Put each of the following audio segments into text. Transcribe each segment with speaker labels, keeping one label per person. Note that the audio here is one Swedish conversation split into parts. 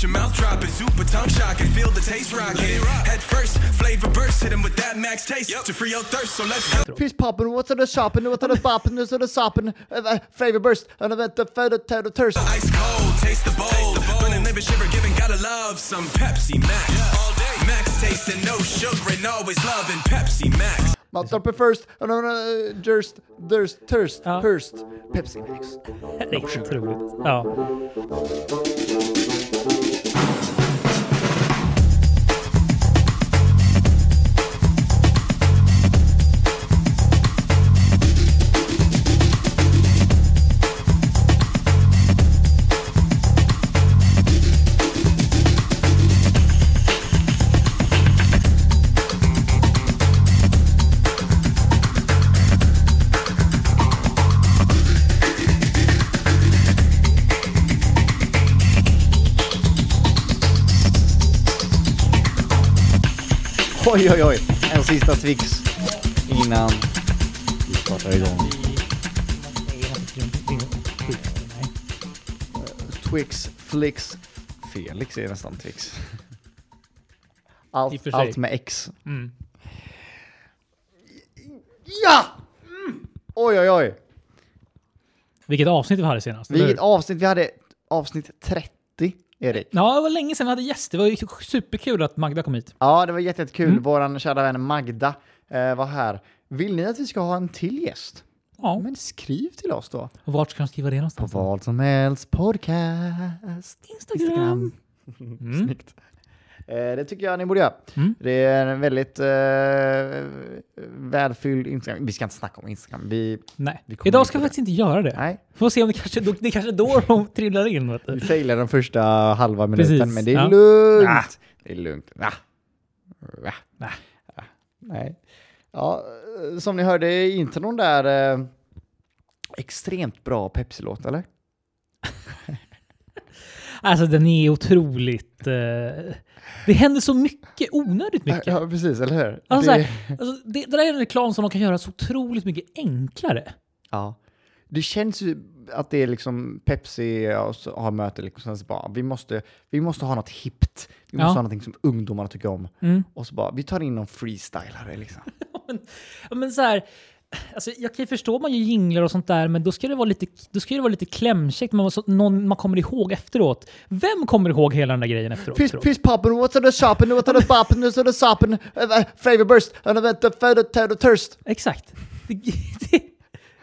Speaker 1: your mouth dropping, super tongue shocking, feel the taste rocking. Head first, flavor burst, hit 'em with that max taste to free your thirst. So let's go.
Speaker 2: Fish poppin', what's on the shopping, what's on the boppin', what's on the soppin', uh, flavor burst, and I bet the feather tater thirst.
Speaker 1: Ice cold, taste the bowl. Burning liver shiver, giving gotta love some Pepsi Max. All day. Max tasting, no sugar, and always loving Pepsi Max.
Speaker 2: Man tappar först, and on uh, durst, durst, thirst,
Speaker 3: Ja.
Speaker 2: thirst, Pepsi Max.
Speaker 3: Det är otroligt. Ja.
Speaker 4: Oj, oj, oj. En sista Twix innan vi startar igång. Twix, Flix, Felix är nästan Twix.
Speaker 3: I och
Speaker 4: Allt,
Speaker 3: för sig. Mm.
Speaker 4: allt med X.
Speaker 2: Ja! Mm.
Speaker 4: Oj, oj, oj.
Speaker 3: Vilket avsnitt vi hade senast. eller
Speaker 4: Vilket
Speaker 3: hur?
Speaker 4: avsnitt vi hade. Avsnitt 30, Erik.
Speaker 3: Ja, det var länge sedan vi hade gäst. Det var ju superkul att Magda kom hit.
Speaker 4: Ja, det var jätte- jättekul. Vår kära vän Magda eh, var här. Vill ni att vi ska ha en till gäst?
Speaker 3: Ja,
Speaker 4: Men skriv till oss då.
Speaker 3: och vart ska de skriva det någonstans?
Speaker 4: Vad som helst podcast. Instagram. Snyggt. Eh, Det tycker jag ni borde göra. Det är en väldigt eh, välfylld Instagram. Vi ska inte snacka om Instagram. Vi,
Speaker 3: Nej,
Speaker 4: Vi kommer
Speaker 3: idag
Speaker 4: in
Speaker 3: ska
Speaker 4: på
Speaker 3: vi
Speaker 4: det.
Speaker 3: faktiskt inte göra det.
Speaker 4: nej,
Speaker 3: Får se om det kanske, då- det kanske då de trillar in. Vet
Speaker 4: vi
Speaker 3: du.
Speaker 4: failade den första halva minuten,
Speaker 3: Precis,
Speaker 4: men det är
Speaker 3: ja.
Speaker 4: lugnt.
Speaker 3: Ah.
Speaker 4: Det är lugnt. Ah. Ah. Ah. Nej. Ja, eh, som ni hörde är inte någon där eh, extremt bra Pepsi-låt, eller?
Speaker 3: Alltså den är otroligt... Eh, det händer så mycket, onödigt mycket.
Speaker 4: Ja, precis, eller hur?
Speaker 3: Alltså,
Speaker 4: Det-
Speaker 3: det... alltså, det, det där är en reklam som de kan göra så otroligt mycket enklare.
Speaker 4: Ja. Det känns ju att det är liksom Pepsi och så har möte liksom. Sen så bara, vi måste, vi måste ha något hippt. Vi måste
Speaker 3: Ja.
Speaker 4: ha någonting som ungdomarna tycker om.
Speaker 3: Mm.
Speaker 4: Och så bara, vi tar in någon freestylare liksom.
Speaker 3: Ja, men så här, alltså, jag kan ju förstå om man gör jinglar och sånt där, men då ska det vara lite, då ska det vara lite klämkäckt. Man, så, någon man kommer ihåg efteråt. Vem kommer ihåg hela den där grejen efteråt?
Speaker 2: Fish,
Speaker 3: tror du?
Speaker 2: fish poppin', what's on the shopping, what's on the boppin', what's on the soppin', uh, flavor burst, and I bet the feather tater thirst.
Speaker 3: Exakt. Det, det,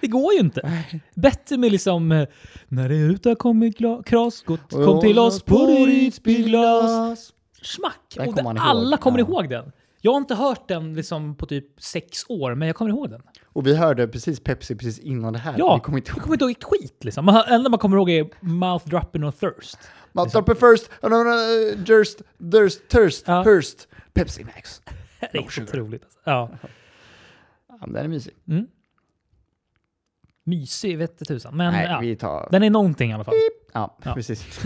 Speaker 3: det går ju inte. Bättre med liksom... eh, När det ruta kommer gla- kras, gott, kom till oss på Rydsby glas. Smack!
Speaker 4: Den
Speaker 3: Och
Speaker 4: kommer man
Speaker 3: det,
Speaker 4: ihåg.
Speaker 3: alla kommer
Speaker 4: Ja.
Speaker 3: ihåg den. Jag har inte hört den liksom på typ sex år, men jag kommer ihåg den.
Speaker 4: Och vi hörde precis Pepsi precis innan det här.
Speaker 3: Ja,
Speaker 4: Vi kommer inte
Speaker 3: jag
Speaker 4: ihåg.
Speaker 3: kommer inte ihåg ett skit liksom. Man- Det enda man kommer ihåg är mouth dropping och thirst.
Speaker 2: Man tappar först, and on uh, durst, durst, thirst,
Speaker 3: Ja.
Speaker 2: thirst, Pepsi Max.
Speaker 3: Det är så otroligt. Alltså. Ja.
Speaker 4: Ja, men den är mysig.
Speaker 3: Mysig vete tusan. Men
Speaker 4: Nej,
Speaker 3: ja.
Speaker 4: vi tar...
Speaker 3: den är någonting i alla fall.
Speaker 4: Ja,
Speaker 3: Ja.
Speaker 4: precis.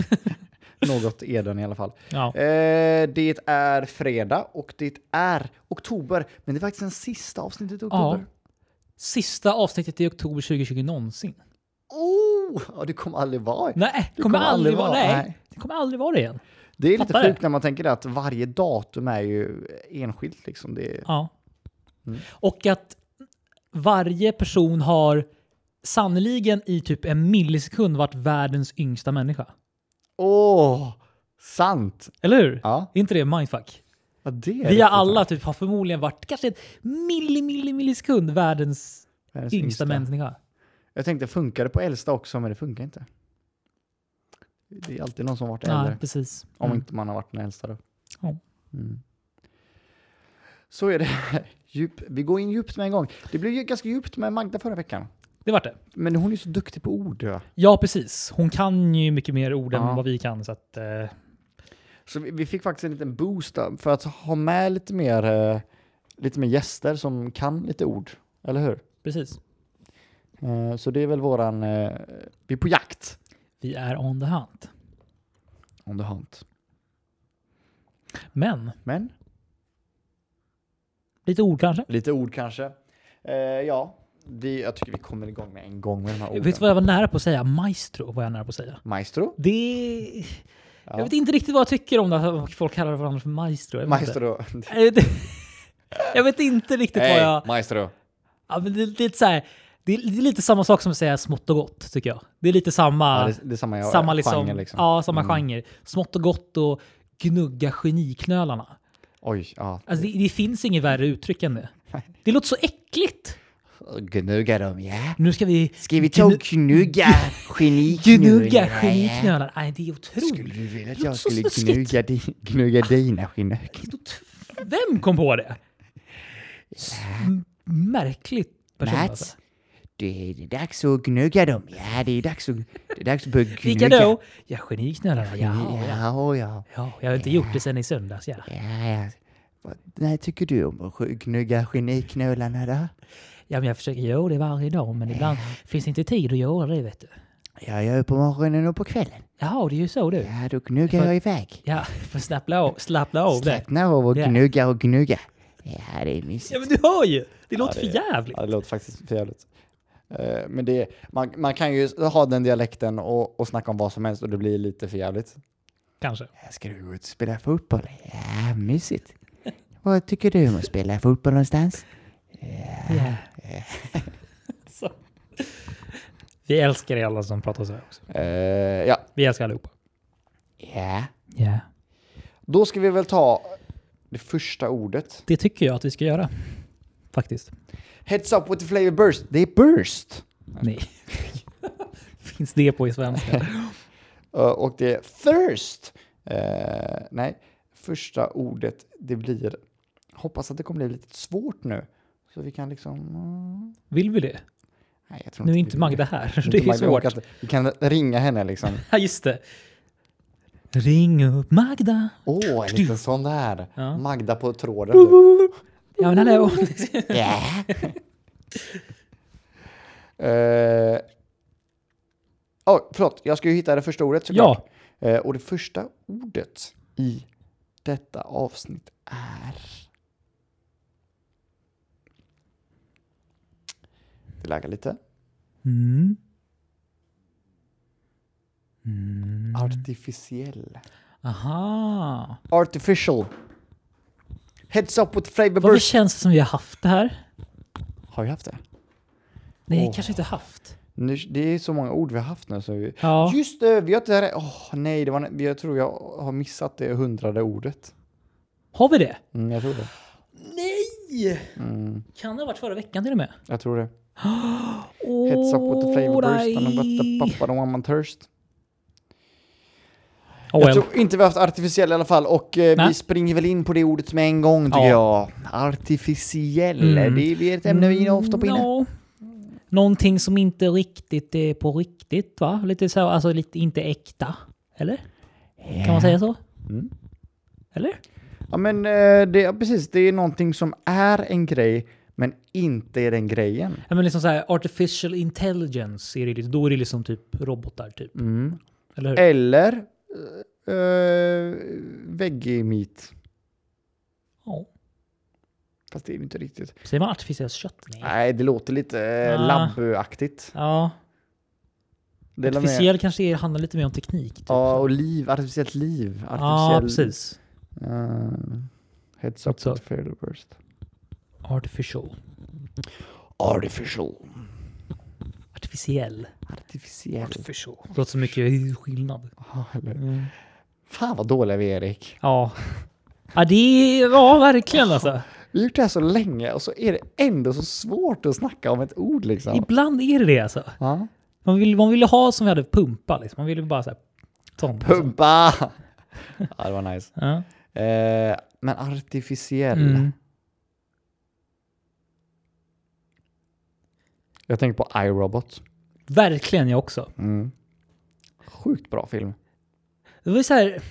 Speaker 4: Något är den i alla fall.
Speaker 3: Ja.
Speaker 4: Eh, det är fredag och det är oktober. Men det är faktiskt den sista avsnittet i
Speaker 3: ja.
Speaker 4: oktober.
Speaker 3: Sista avsnittet i oktober 2020 någonsin.
Speaker 4: Oh, ja, det kommer aldrig vara.
Speaker 3: Nej, det kommer, aldrig vara, nej. Det kommer aldrig vara det igen.
Speaker 4: Det är lite
Speaker 3: Fattar det.
Speaker 4: sjukt när man tänker det att varje datum är ju enskilt. Liksom. Det är,
Speaker 3: Ja.
Speaker 4: Mm.
Speaker 3: Och att varje person har sannoliken i typ en millisekund varit världens yngsta människa.
Speaker 4: Åh, sant!
Speaker 3: Eller hur?
Speaker 4: Ja.
Speaker 3: Är inte det mindfuck?
Speaker 4: Ja, det är
Speaker 3: Vi
Speaker 4: riktigt
Speaker 3: har alla
Speaker 4: sant.
Speaker 3: typ, har förmodligen varit kanske en milli, milli, millisekund världens
Speaker 4: Världens
Speaker 3: yngsta, människa.
Speaker 4: Jag tänkte, funkar det på äldsta också? Men det funkar inte. Det är alltid någon som varit äldre.
Speaker 3: Ja, precis.
Speaker 4: Om
Speaker 3: Mm.
Speaker 4: inte man har varit den äldsta då.
Speaker 3: Ja.
Speaker 4: Mm. Så är det. Djup. Vi går in djupt med en gång. Det blev ju ganska djupt med Magda förra veckan.
Speaker 3: Det vart det.
Speaker 4: Men hon är ju så duktig på ord. va?
Speaker 3: Ja, precis. Hon kan ju mycket mer ord än
Speaker 4: Ja.
Speaker 3: vad vi kan. Så att, eh,
Speaker 4: Så vi, vi fick faktiskt en liten boost där, för att ha med lite mer, eh, lite mer gäster som kan lite ord. Eller hur?
Speaker 3: precis.
Speaker 4: Eh, så det är väl våran... Eh, vi är på jakt.
Speaker 3: Vi är on the hunt.
Speaker 4: On the hunt.
Speaker 3: Men,
Speaker 4: Men
Speaker 3: lite ord kanske?
Speaker 4: lite ord kanske. Eh, ja, vi, jag tycker vi kommer igång med en gång med de här orden.
Speaker 3: Vet du vad jag var nära på att säga? Maestro var jag nära på att säga.
Speaker 4: Maestro?
Speaker 3: Det... Jag vet inte riktigt vad jag tycker om det att folk kallar varandra för maestro. Jag vet inte.
Speaker 4: Maestro.
Speaker 3: Jag vet- Jag vet inte riktigt vad
Speaker 4: Hej,
Speaker 3: jag...
Speaker 4: maestro.
Speaker 3: Ja, men det, det, är lite så här, det, är, det är lite samma sak som att säga smått och gott, tycker jag. Det är lite samma,
Speaker 4: Ja, det, det är samma, jag-
Speaker 3: samma liksom,
Speaker 4: genre liksom.
Speaker 3: Ja, samma genre. Smått och gott och gnugga geniknölarna.
Speaker 4: Oj, ja.
Speaker 3: Alltså, det, det finns inget värre uttryck än det. Det låter så äckligt.
Speaker 4: Gnugga dem, ja.
Speaker 3: Nu ska vi
Speaker 4: Ska vi
Speaker 3: gnu-
Speaker 4: ta och gnugga geniknölarna?
Speaker 3: gnugga
Speaker 4: ja?
Speaker 3: geniknölar. Nej, det är
Speaker 4: Skulle
Speaker 3: otroligt.
Speaker 4: du vilja att
Speaker 3: Låter
Speaker 4: jag
Speaker 3: så
Speaker 4: skulle
Speaker 3: snuskigt.
Speaker 4: gnugga, di, gnugga dina genik?
Speaker 3: Det är ot- Vem kom på det? S- Märkligt person. Alltså.
Speaker 4: Mats, det är det är dags att gnugga dem. Ja, det är dags att, det är dags att börja
Speaker 3: Vilka
Speaker 4: gnugga.
Speaker 3: då? Ja, geniknölarna. Ja, ja.
Speaker 4: Ja, ja.
Speaker 3: ja, jag har inte gjort det sen i söndags. Ja.
Speaker 4: ja, ja. Vad nej, tycker du om att sk- gnugga geniknölarna då?
Speaker 3: Ja, men jag försöker göra det varje dag, men ibland finns det inte tid att göra det, vet du.
Speaker 4: Ja, jag är på morgonen och på kvällen.
Speaker 3: Jaha, det är ju så du.
Speaker 4: Ja, då gnuggar jag iväg.
Speaker 3: Ja, för slappna av, slappna av det.
Speaker 4: Slappna av och
Speaker 3: Ja.
Speaker 4: gnugga och gnugga. Ja, det är mysigt.
Speaker 3: Ja, men du hör ju! Det låter
Speaker 4: det-
Speaker 3: för jävligt.
Speaker 4: Ja, det låter faktiskt förjävligt. Eh, Men det, man, man kan ju ha den dialekten och, och snacka om vad som helst och det blir lite förjävligt.
Speaker 3: Kanske.
Speaker 4: Ska du gå ut och spela fotboll? Ja, mysigt. Vad tycker du om att spela fotboll någonstans?
Speaker 3: Ja. Eh, Så. Vi älskar er alla som pratar så här också.
Speaker 4: Eh, ja.
Speaker 3: Vi älskar allihopa.
Speaker 4: ja.
Speaker 3: Ja.
Speaker 4: Då ska vi väl ta det första ordet.
Speaker 3: Det tycker jag att vi ska göra. Faktiskt.
Speaker 4: Heads up with the flavor burst. Det är burst.
Speaker 3: Nej. Finns det på i svenska?
Speaker 4: Eh, och det är thirst. Eh, nej, första ordet det blir... Hoppas att det kommer bli lite svårt nu. Så vi kan liksom... mm,
Speaker 3: Vill vi det?
Speaker 4: Nej, jag tror
Speaker 3: Nu är
Speaker 4: vi
Speaker 3: inte
Speaker 4: vill
Speaker 3: Magda här.
Speaker 4: Inte
Speaker 3: Det är
Speaker 4: Magda, jag
Speaker 3: svårt.
Speaker 4: orkar inte. Vi kan ringa henne liksom.
Speaker 3: Ja, just det. Ring upp Magda.
Speaker 4: Åh, oh, en liten sån där.
Speaker 3: Ja.
Speaker 4: Magda på tråden. du.
Speaker 3: Ja, men hallå.
Speaker 4: Eh, Åh, förlåt, jag ska ju hitta det första ordet såklart. Eh, och det första ordet i detta avsnitt är... Det laggar lite.
Speaker 3: Mm.
Speaker 4: Mm. Artificiell.
Speaker 3: Aha.
Speaker 4: Artificial. Heads up with flavor
Speaker 3: Varför
Speaker 4: burst.
Speaker 3: känns det som vi har haft det här?
Speaker 4: Har jag haft det?
Speaker 3: Nej,
Speaker 4: Åh.
Speaker 3: kanske inte haft.
Speaker 4: Nu, det är så många ord vi har haft nu. Så vi...
Speaker 3: Ja.
Speaker 4: Just det, vi har inte... Åh nej, det var, jag tror jag har missat det hundrade ordet.
Speaker 3: Har vi det?
Speaker 4: Mm, jag tror det.
Speaker 3: Nej! Kan det ha varit förra veckan till och med?
Speaker 4: Jag tror det. Heads up with the flavor burst and about the papa don't want my thirst. Jag
Speaker 3: Oh, well.
Speaker 4: tror inte vi har haft artificiell i alla fall och eh, vi
Speaker 3: Nej.
Speaker 4: springer väl in på det ordet med en gång tycker
Speaker 3: Ja.
Speaker 4: jag. Artificiell,
Speaker 3: Mm.
Speaker 4: det är- det är ett ämne vi är ofta på inne.
Speaker 3: Ja. Någonting som inte riktigt är på riktigt, va? Lite så, alltså lite inte äkta. Eller? Kan man säga så?
Speaker 4: Mm.
Speaker 3: Eller?
Speaker 4: Ja men eh, det, ja, precis, det är någonting som är en grej men inte är den grejen.
Speaker 3: Ja, men liksom så här, artificial intelligence, är det, lite- då är det liksom typ robotar, typ.
Speaker 4: Mm.
Speaker 3: Eller hur?
Speaker 4: Eller eh, eh, veggie meat.
Speaker 3: Ja.
Speaker 4: Fast det är ju inte riktigt.
Speaker 3: Säger man artificiellt kött? Nej.
Speaker 4: Nej, det låter lite eh,
Speaker 3: Ah.
Speaker 4: labbaktigt.
Speaker 3: Ja.
Speaker 4: Det är väl mer-
Speaker 3: Artificiell kanske är, handlar lite mer om teknik. Typ.
Speaker 4: Ja, och liv, artificiellt liv.
Speaker 3: ja,
Speaker 4: Artificiell,
Speaker 3: precis.
Speaker 4: eh, heads up
Speaker 3: Heads up.
Speaker 4: with fair burst.
Speaker 3: Artificial.
Speaker 4: Artificial.
Speaker 3: Artificiell.
Speaker 4: Artificiell.
Speaker 3: Artificial. Det låter så mycket skillnad.
Speaker 4: Ja, eller-
Speaker 3: Mm.
Speaker 4: Fan vad dåliga vi är Erik.
Speaker 3: Ja. Ja, det är, ja, verkligen alltså.
Speaker 4: Vi har gjort det här så länge och så är det ändå så svårt att snacka om ett ord liksom.
Speaker 3: Ibland är det det alltså.
Speaker 4: Ja.
Speaker 3: Man ville man vill ha som vi hade pumpa liksom. Man ville bara såhär... Sån.
Speaker 4: Pumpa! ja, det var nice.
Speaker 3: Ja.
Speaker 4: Eh, men artificiell.
Speaker 3: Mm.
Speaker 4: Jag tänker på iRobot.
Speaker 3: Verkligen jag också.
Speaker 4: Mm. Sjukt bra film.
Speaker 3: Det var ju så här...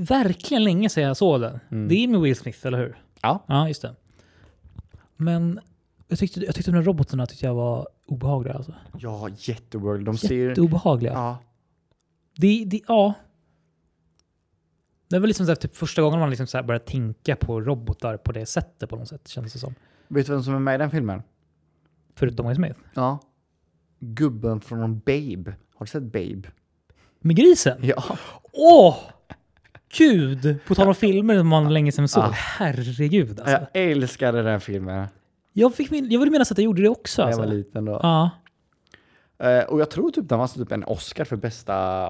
Speaker 3: Verkligen länge sedan jag såg den. Det är med Will Smith, eller hur?
Speaker 4: Ja.
Speaker 3: Ja, just det. Men jag tyckte, jag tyckte de där robotarna tyckte jag var obehagliga alltså.
Speaker 4: Ja, jätteworld. De ser...
Speaker 3: Jätteobehagliga.
Speaker 4: Ja.
Speaker 3: Det, det, ja. Det var liksom så här, typ första gången man liksom så här började tänka på robotar på det sättet på något sätt känns det som.
Speaker 4: Vet du vem som är med i den filmen?
Speaker 3: Förutom Will Smith.
Speaker 4: Ja. Gubben från Babe. Har du sett Babe?
Speaker 3: med grisen.
Speaker 4: Ja.
Speaker 3: Åh! Gud! På tal om filmer som man länge sedan såg. Herregud alltså.
Speaker 4: Jag älskade den här filmen
Speaker 3: Jag, fick min, jag vill minnas att jag gjorde det också.
Speaker 4: när jag
Speaker 3: Alltså.
Speaker 4: var liten då.
Speaker 3: Ja.
Speaker 4: Eh, och jag tror typ den vann typ en Oscar för bästa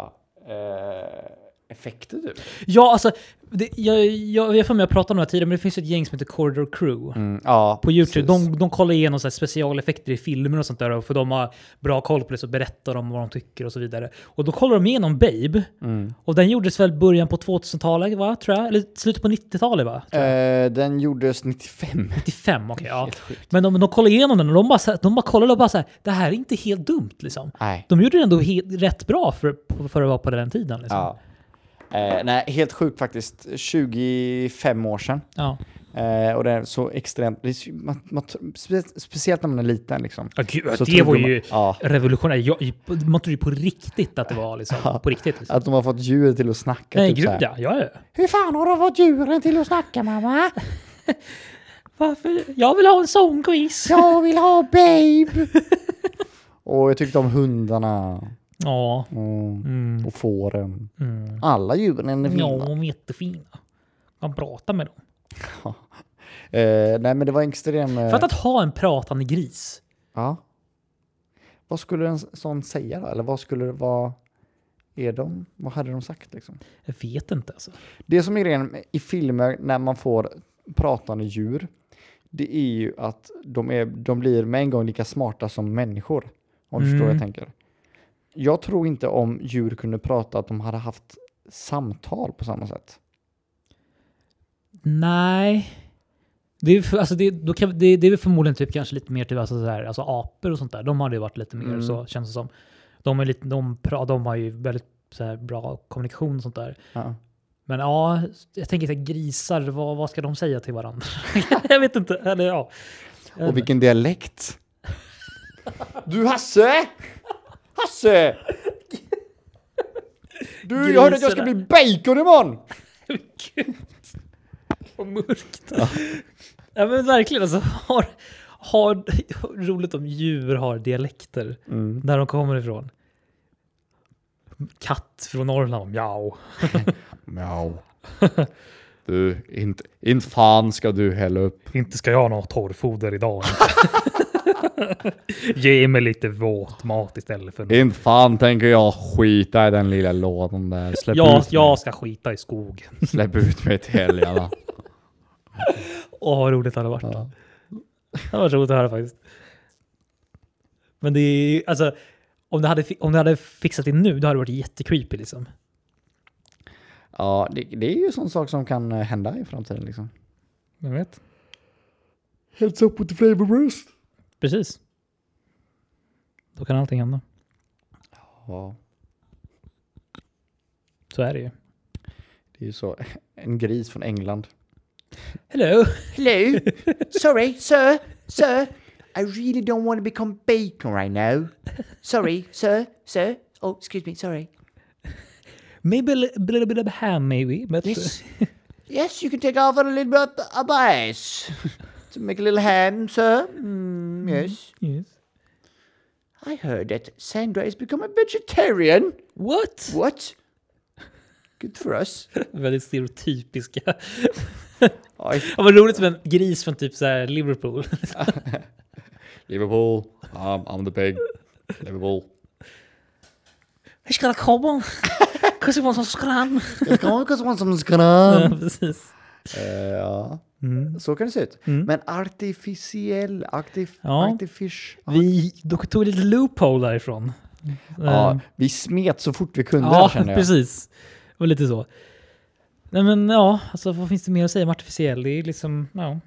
Speaker 4: eh, effekter typ.
Speaker 3: ja, alltså. Det, jag, jag, jag får mig att prata om det här tidigare, men det finns ett gäng som heter Corridor Crew.
Speaker 4: ja,
Speaker 3: På YouTube, de, de kollar igenom så här specialeffekter i filmer och sånt där. För de har bra koll på det, så berättar de vad de tycker och så vidare. Och då kollar de igenom Babe.
Speaker 4: Mm.
Speaker 3: Och den gjordes väl början på 2000-talet, va? Tror jag. Eller slutet på 90-talet, va?
Speaker 4: Eh, den gjordes 95.
Speaker 3: 95, okej. ja. Men de, de kollar igenom den och de bara, så här- de bara kollade och bara så här, det här är inte helt dumt liksom.
Speaker 4: Nej.
Speaker 3: De gjorde det ändå helt, rätt bra för, för att vara på den tiden. Liksom.
Speaker 4: Ja. Eh, nej, helt sjukt faktiskt. 25 år sedan.
Speaker 3: Ja.
Speaker 4: Eh, och det är så extremt, det är, så- man, man, spe, speciellt när man är liten liksom.
Speaker 3: Ja, gud,
Speaker 4: Så
Speaker 3: det var
Speaker 4: trodde man-
Speaker 3: ju
Speaker 4: ja.
Speaker 3: revolutionärt. Jag, man trodde ju på riktigt att det var liksom, på riktigt. Liksom.
Speaker 4: Att de har fått djur till att snacka.
Speaker 3: Nej,
Speaker 4: typ
Speaker 3: gud
Speaker 4: så här.
Speaker 3: ja. ja, ja.
Speaker 4: Hur fan har de fått djuren till att snacka mamma?
Speaker 3: Varför? Jag vill ha en sån quiz. Ja.
Speaker 4: Jag vill ha babe! och jag tyckte om hundarna. Och,
Speaker 3: Mm.
Speaker 4: och fåren. Alla djuren är fina.
Speaker 3: Ja, de är jättefina. Man pratar med dem.
Speaker 4: Eh, nej men det var en extrem... eh,
Speaker 3: Fatta att ha en pratande gris.
Speaker 4: Ja. Vad skulle en sån säga då? Eller vad skulle det vara? Är de? Vad hade de sagt liksom?
Speaker 3: Jag vet inte alltså.
Speaker 4: Det som är grejen i filmer när man får pratande djur, det är ju att de, är, de blir med en gång lika smarta som människor. Om du förstår vad jag tänker. Jag tror inte om djur kunde prata att de hade haft samtal på samma sätt.
Speaker 3: Nej. Det är, för- alltså det, då kan, det, det är väl förmodligen typ kanske lite mer typ alltså så här, alltså apor och sånt där. De hade ju varit lite mer så känns det som. De, är lite, de, pra- de har ju väldigt så här, bra kommunikation och sånt där.
Speaker 4: Ja.
Speaker 3: Men ja, jag tänker så här, grisar, vad, vad ska de säga till varandra? jag vet inte. Eller ja.
Speaker 4: Och vilken dialekt! Du Hasse! Hasse! Du, jag hörde att jag ska bli bacon imorgon!
Speaker 3: Gud, vad mörkt. Ja. men verkligen alltså. Har, har, roligt om djur har dialekter. Där de kommer ifrån. Katt från Norrland, mjau.
Speaker 4: Mjau. Du, inte, inte fan ska du hälla upp.
Speaker 3: Inte ska jag ha något torrfoder idag. Ge mig lite våtmat istället för...
Speaker 4: Inte fan tänker jag skita i den lilla lådan där. Släpp,
Speaker 3: Jag,
Speaker 4: ut,
Speaker 3: jag ska skita i skogen.
Speaker 4: Mig. Släpp ut mig till helgarna.
Speaker 3: Åh, vad roligt det hade varit. Det var roligt att höra faktiskt. Men det är ju- alltså, om det hade, fi- om det hade fixat det nu, då hade det varit jättecreepy liksom.
Speaker 4: ja, det, det är ju sån sak som kan eh, hända i framtiden liksom.
Speaker 3: Jag vet.
Speaker 4: Heads up with the flavor burst.
Speaker 3: Precis. Då kan allting hända.
Speaker 4: Ja,
Speaker 3: Så är det ju.
Speaker 4: det är ju så. En gris från England.
Speaker 3: Hello!
Speaker 4: Hello. Sorry, sir. Sir. I really don't want to become bacon right now. Sorry, sir. Sir. Oh, excuse me. Sorry.
Speaker 3: Maybe a li- little bit of ham maybe. But uh,
Speaker 4: Yes, you can take off a little bit of ice to make a little ham, sir.
Speaker 5: Hmm.
Speaker 4: Mm, yes.
Speaker 3: Yes.
Speaker 4: I heard that Sandra has become a vegetarian.
Speaker 3: What?
Speaker 4: What? Good for us.
Speaker 3: Väldigt stereotypiska.
Speaker 4: Oj.
Speaker 3: Ja, vad roligt med en gris från typ så här Liverpool.
Speaker 6: Liverpool. Um, I'm the big Liverpool.
Speaker 3: Jag ska komma. on. Cause it was on scrum. Ja, precis.
Speaker 4: ja.
Speaker 3: Mm.
Speaker 4: Så kan det se ut. Men artificiell, artif
Speaker 3: Ja.
Speaker 4: artifish.
Speaker 3: Vi då tog lite loophole därifrån.
Speaker 4: Ja, vi smet så fort vi kunde
Speaker 3: Eh. Ja,
Speaker 4: känner jag.
Speaker 3: precis. Det var lite så. Nej men ja, alltså vad finns det mer att säga om artificiell? Det är liksom, ja.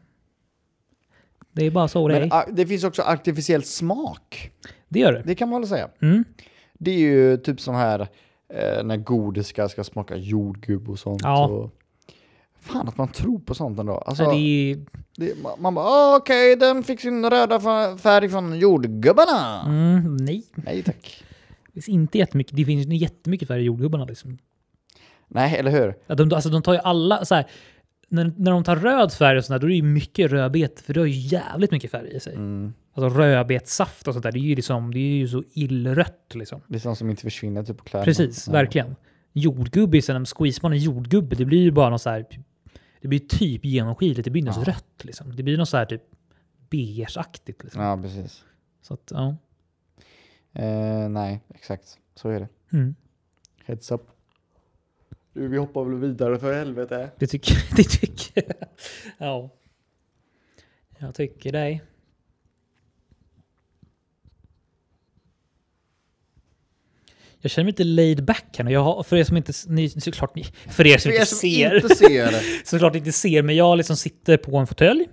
Speaker 3: Det är bara så det
Speaker 4: Men
Speaker 3: är.
Speaker 4: ar- det finns också artificiell smak.
Speaker 3: Det gör det.
Speaker 4: Det kan man väl säga.
Speaker 3: Mm.
Speaker 4: Det är ju typ som här eh, när godis ska, ska smaka jordgubb och sånt.
Speaker 3: Ja.
Speaker 4: Och, fan att man tror på sånt ändå. Alltså,
Speaker 3: Nej, det
Speaker 4: det,
Speaker 3: är,
Speaker 4: ma- man bara "Ah, okej, den fick sin röda fa- färg från jordgubbarna.
Speaker 3: mm, nej,
Speaker 4: Nej tack.
Speaker 3: det finns inte jättemycket. Det finns ju jättemycket färre i jordgubbarna liksom.
Speaker 4: Nej, eller hur?
Speaker 3: Ja, de, alltså de tar ju alla, så här, när, när de tar röd färg och sådär, då är det ju mycket rödbete för det har ju jävligt mycket färg i sig. Alltså rödbetssaft och sånt där, det är ju, liksom, det är ju så illrött liksom.
Speaker 4: Det är sånt som inte försvinner typ på kläderna.
Speaker 3: Precis,
Speaker 4: Ja.
Speaker 3: verkligen. Jordgubbe, sen squeeze man en jordgubbe, det blir ju bara något så här... Det blir typ genomskinligt, det blir något rött liksom. Det blir något så här typ beigeaktigt liksom.
Speaker 4: Ja, precis.
Speaker 3: Så att, ja.
Speaker 4: Eh, nej, exakt. Så är det.
Speaker 3: Mm.
Speaker 4: Heads up. Du, vi hoppar väl vidare för helvete.
Speaker 3: Det tycker det tycker jag. Ja. Jag tycker dig. Jag känner mig lite laid back här nu. Jag har, för er som inte, s- ni, såklart, ni, för er
Speaker 4: För
Speaker 3: som
Speaker 4: er
Speaker 3: inte
Speaker 4: som
Speaker 3: ser.
Speaker 4: inte ser det.
Speaker 3: såklart inte ser, men jag liksom sitter på en fåtölj.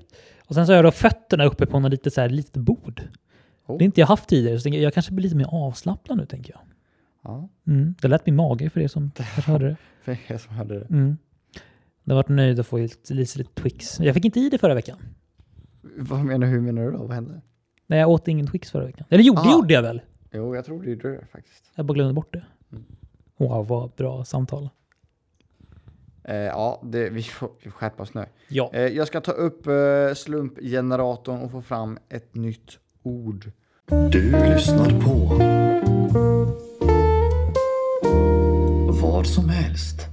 Speaker 3: Och sen så har jag då fötterna uppe på något litet, så här, litet bord.
Speaker 4: Oh.
Speaker 3: Det är inte jag haft tidigare, så tänker jag, jag kanske blir lite mer avslappnad nu tänker jag.
Speaker 4: Ja,
Speaker 3: Mm. Det lät min mage för er som kanske hörde det.
Speaker 4: för er som hörde det.
Speaker 3: Mm. Det har varit nöjd att få lite, lite, lite Twix. Jag fick inte i det förra veckan.
Speaker 4: Vad menar, hur menar du då? Vad hände?
Speaker 3: Nej, jag åt ingen Twix förra veckan. Eller jo, det
Speaker 4: Ah.
Speaker 3: gjorde jag väl?
Speaker 4: Jo, jag tror det gjorde det faktiskt.
Speaker 3: Jag bara glömde bort det.
Speaker 4: Mm.
Speaker 3: Wow, vad bra samtal.
Speaker 4: Eh, ja, det, vi får skärpa oss nu.
Speaker 3: Ja.
Speaker 4: Eh, jag ska ta upp eh, slumpgeneratorn och få fram ett nytt ord.
Speaker 5: Du lyssnar på vad som helst.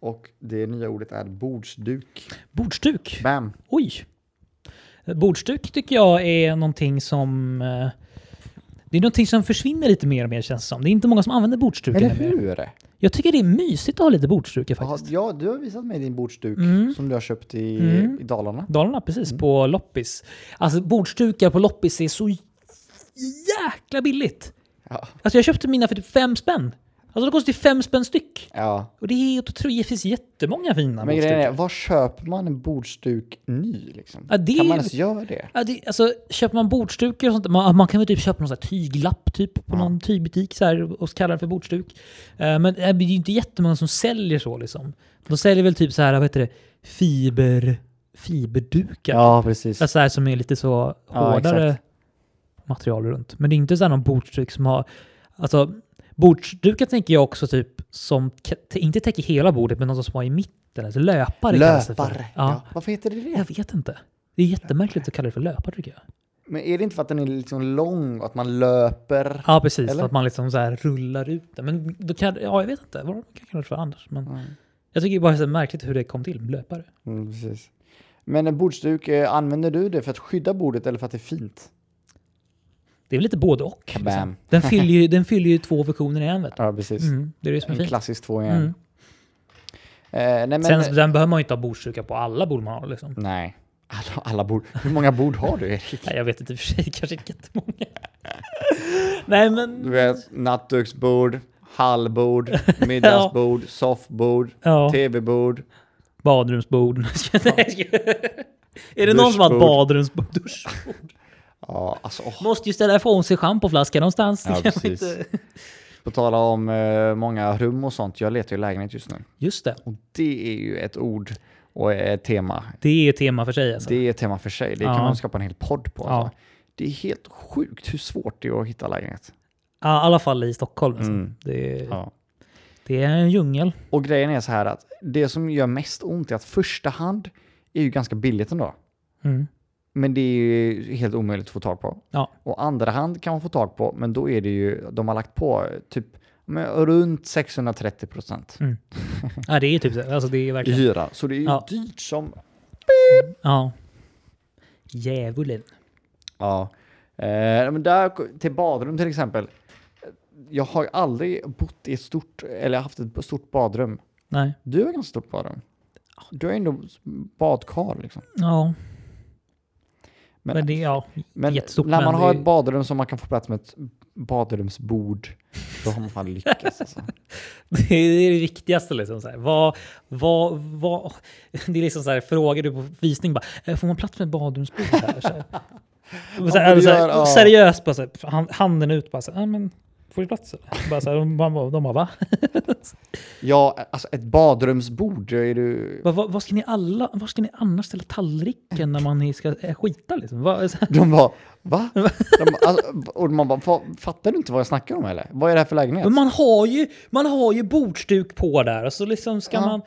Speaker 4: Och det nya ordet är bordsduk.
Speaker 3: Bordsduk.
Speaker 4: Bam!
Speaker 3: Oj! Bordsduk tycker jag är någonting som... eh, Det är någonting som försvinner lite mer och mer känns det som. Det är inte många som använder bordsdukar
Speaker 4: Eller
Speaker 3: längre.
Speaker 4: hur?
Speaker 3: Jag tycker det är mysigt att ha lite bordsdukar
Speaker 4: Ja,
Speaker 3: faktiskt.
Speaker 4: ja, du har visat mig din bordsduk som du har köpt i, i Dalarna.
Speaker 3: Dalarna, precis.
Speaker 4: Mm.
Speaker 3: På loppis. Alltså bordsdukar på loppis är så jäkla billigt.
Speaker 4: Ja.
Speaker 3: Alltså jag köpte mina för typ fem spänn. Alltså de kostar ju fem spänn styck.
Speaker 4: ja.
Speaker 3: Och det är helt otroligt. Det finns jättemånga fina
Speaker 4: Men
Speaker 3: bordsdukar.
Speaker 4: grejen är, var köper man en bordsduk ny? Liksom?
Speaker 3: Ja, det
Speaker 4: Kan
Speaker 3: är-
Speaker 4: man ens göra det?
Speaker 3: Ja, det, alltså, köper man bordsdukar och sånt, man, man kan väl typ köpa någon sån här tyglapp typ på någon tygbutik så här, och kalla den för bordsduk. Eh, men eh, det är ju inte jättemånga som säljer så liksom. De säljer väl typ så här, vad heter det, fiber, fiberdukar.
Speaker 4: Ja, precis.
Speaker 3: Alltså så här som är lite så
Speaker 4: Ja,
Speaker 3: hårdare
Speaker 4: exakt.
Speaker 3: material runt. Men det är inte så här någon bordsduk som har... Alltså, bordsdukar tänker jag också typ som k- inte täcker hela bordet, men någon som har i mitten. Alltså löpare kallas det för.
Speaker 4: Löpare. Ja.
Speaker 3: Ja.
Speaker 4: Varför heter det det?
Speaker 3: Jag vet inte. Det är jättemärkligt att kalla det för löpare tycker jag.
Speaker 4: Men är det inte för att den är liksom lång och att man löper?
Speaker 3: Ja, precis.
Speaker 4: Eller?
Speaker 3: Att man liksom så här rullar ut det. Men då kan, ja, jag vet inte vad de kan kalla det för annars. Men Jag tycker bara det är så märkligt hur det kom till, löpare.
Speaker 4: Mm, precis. Men en bordsduk, eh, använder du det för att skydda bordet eller för att det är fint?
Speaker 3: Det är väl lite både och. liksom.
Speaker 4: Kabam.
Speaker 3: Den, fyller ju, den fyller ju två funktioner i en. Vet du.
Speaker 4: Ja, precis.
Speaker 3: Mm, det är det som är
Speaker 4: En
Speaker 3: fint.
Speaker 4: klassisk två igen.
Speaker 3: Mm.
Speaker 4: Eh, nej, men,
Speaker 3: Sen, sen behöver man ju inte ha bordsdukar på alla bord man har. Liksom.
Speaker 4: nej. Alla, alla bord. Hur många bord har du, Erik?
Speaker 3: Nej, jag vet inte i och för sig, kanske inte jättemånga. Nej,
Speaker 4: Du
Speaker 3: men...
Speaker 4: vet, nattduksbord, hallbord, middagsbord, soffbord,
Speaker 3: Ja,
Speaker 4: tv-bord.
Speaker 3: badrumsbord. Nej, jag skojar. Är det någon som har ett
Speaker 4: Duschbord.
Speaker 3: badrumsbord? Duschbord?
Speaker 4: Ja, alltså, åh.
Speaker 3: Måste ju ställa ifrån sig schampoflaskan någonstans. Det
Speaker 4: Ja,
Speaker 3: kan man
Speaker 4: precis.
Speaker 3: inte-
Speaker 4: På tala om eh, många rum och sånt, jag letar ju lägenhet just nu.
Speaker 3: Just det.
Speaker 4: Och det är ju ett ord och ett tema.
Speaker 3: Det är ett tema för sig alltså.
Speaker 4: Det är ett tema för sig. Det
Speaker 3: Ja.
Speaker 4: kan man skapa en hel podd på.
Speaker 3: Ja.
Speaker 4: Alltså. Det är helt sjukt hur svårt det är att hitta lägenhet.
Speaker 3: Ja, i alla fall i Stockholm. Alltså.
Speaker 4: Mm.
Speaker 3: Det,
Speaker 4: Ja.
Speaker 3: det är en djungel.
Speaker 4: Och grejen är så här att det som gör mest ont är att första hand är ju ganska billigt ändå.
Speaker 3: Mm.
Speaker 4: Men det är ju helt omöjligt att få tag på.
Speaker 3: Ja.
Speaker 4: Och andra hand kan man få tag på, men då är det ju, de har lagt på eh, typ men, runt 630 procent
Speaker 3: Mm. Ja, det är typ så. Alltså, det är
Speaker 4: i
Speaker 3: verkligen...
Speaker 4: hyra. Så det är ju
Speaker 3: Ja.
Speaker 4: dyrt som
Speaker 3: Ja. Djävulen.
Speaker 4: Ja. Eh, men där, till badrum till exempel. Jag har ju aldrig bott i ett stort, eller haft ett stort badrum.
Speaker 3: Nej.
Speaker 4: Du har ganska stort badrum. Du har ändå badkar liksom.
Speaker 3: Ja.
Speaker 4: Men-
Speaker 3: Men, det, ja.
Speaker 4: Men
Speaker 3: Jättestort,
Speaker 4: när man
Speaker 3: men
Speaker 4: har
Speaker 3: det-
Speaker 4: ett badrum som man kan få plats med ett badrumsbord, då har man fan lyckats alltså.
Speaker 3: Det är det viktigaste. Liksom, så här. Vad, vad, vad, det är liksom så här, frågar du på visning bara, "Eh, får man plats med badrumsbord här? Så här. Och så
Speaker 4: men
Speaker 3: här,
Speaker 4: det
Speaker 3: så här,
Speaker 4: gör- ja.
Speaker 3: Seriöst, bara så här, han- handen ut bara så här, "Ja, men får du plats eller? Bara så här, de, bara- de bara va?
Speaker 4: Ja, alltså ett badrumsbord, då är du...
Speaker 3: Vad, vad, vad ska ni alla, var ska ni annars ställa tallriken när man ska eh, skita liksom? Vad, så här,
Speaker 4: De bara, va? De, bara, alltså, och man bara, "Fa- fattar du inte vad jag snackar om eller? Vad är det här för lägenhet?
Speaker 3: Men man har ju, man har ju bordsduk på där och så liksom ska man...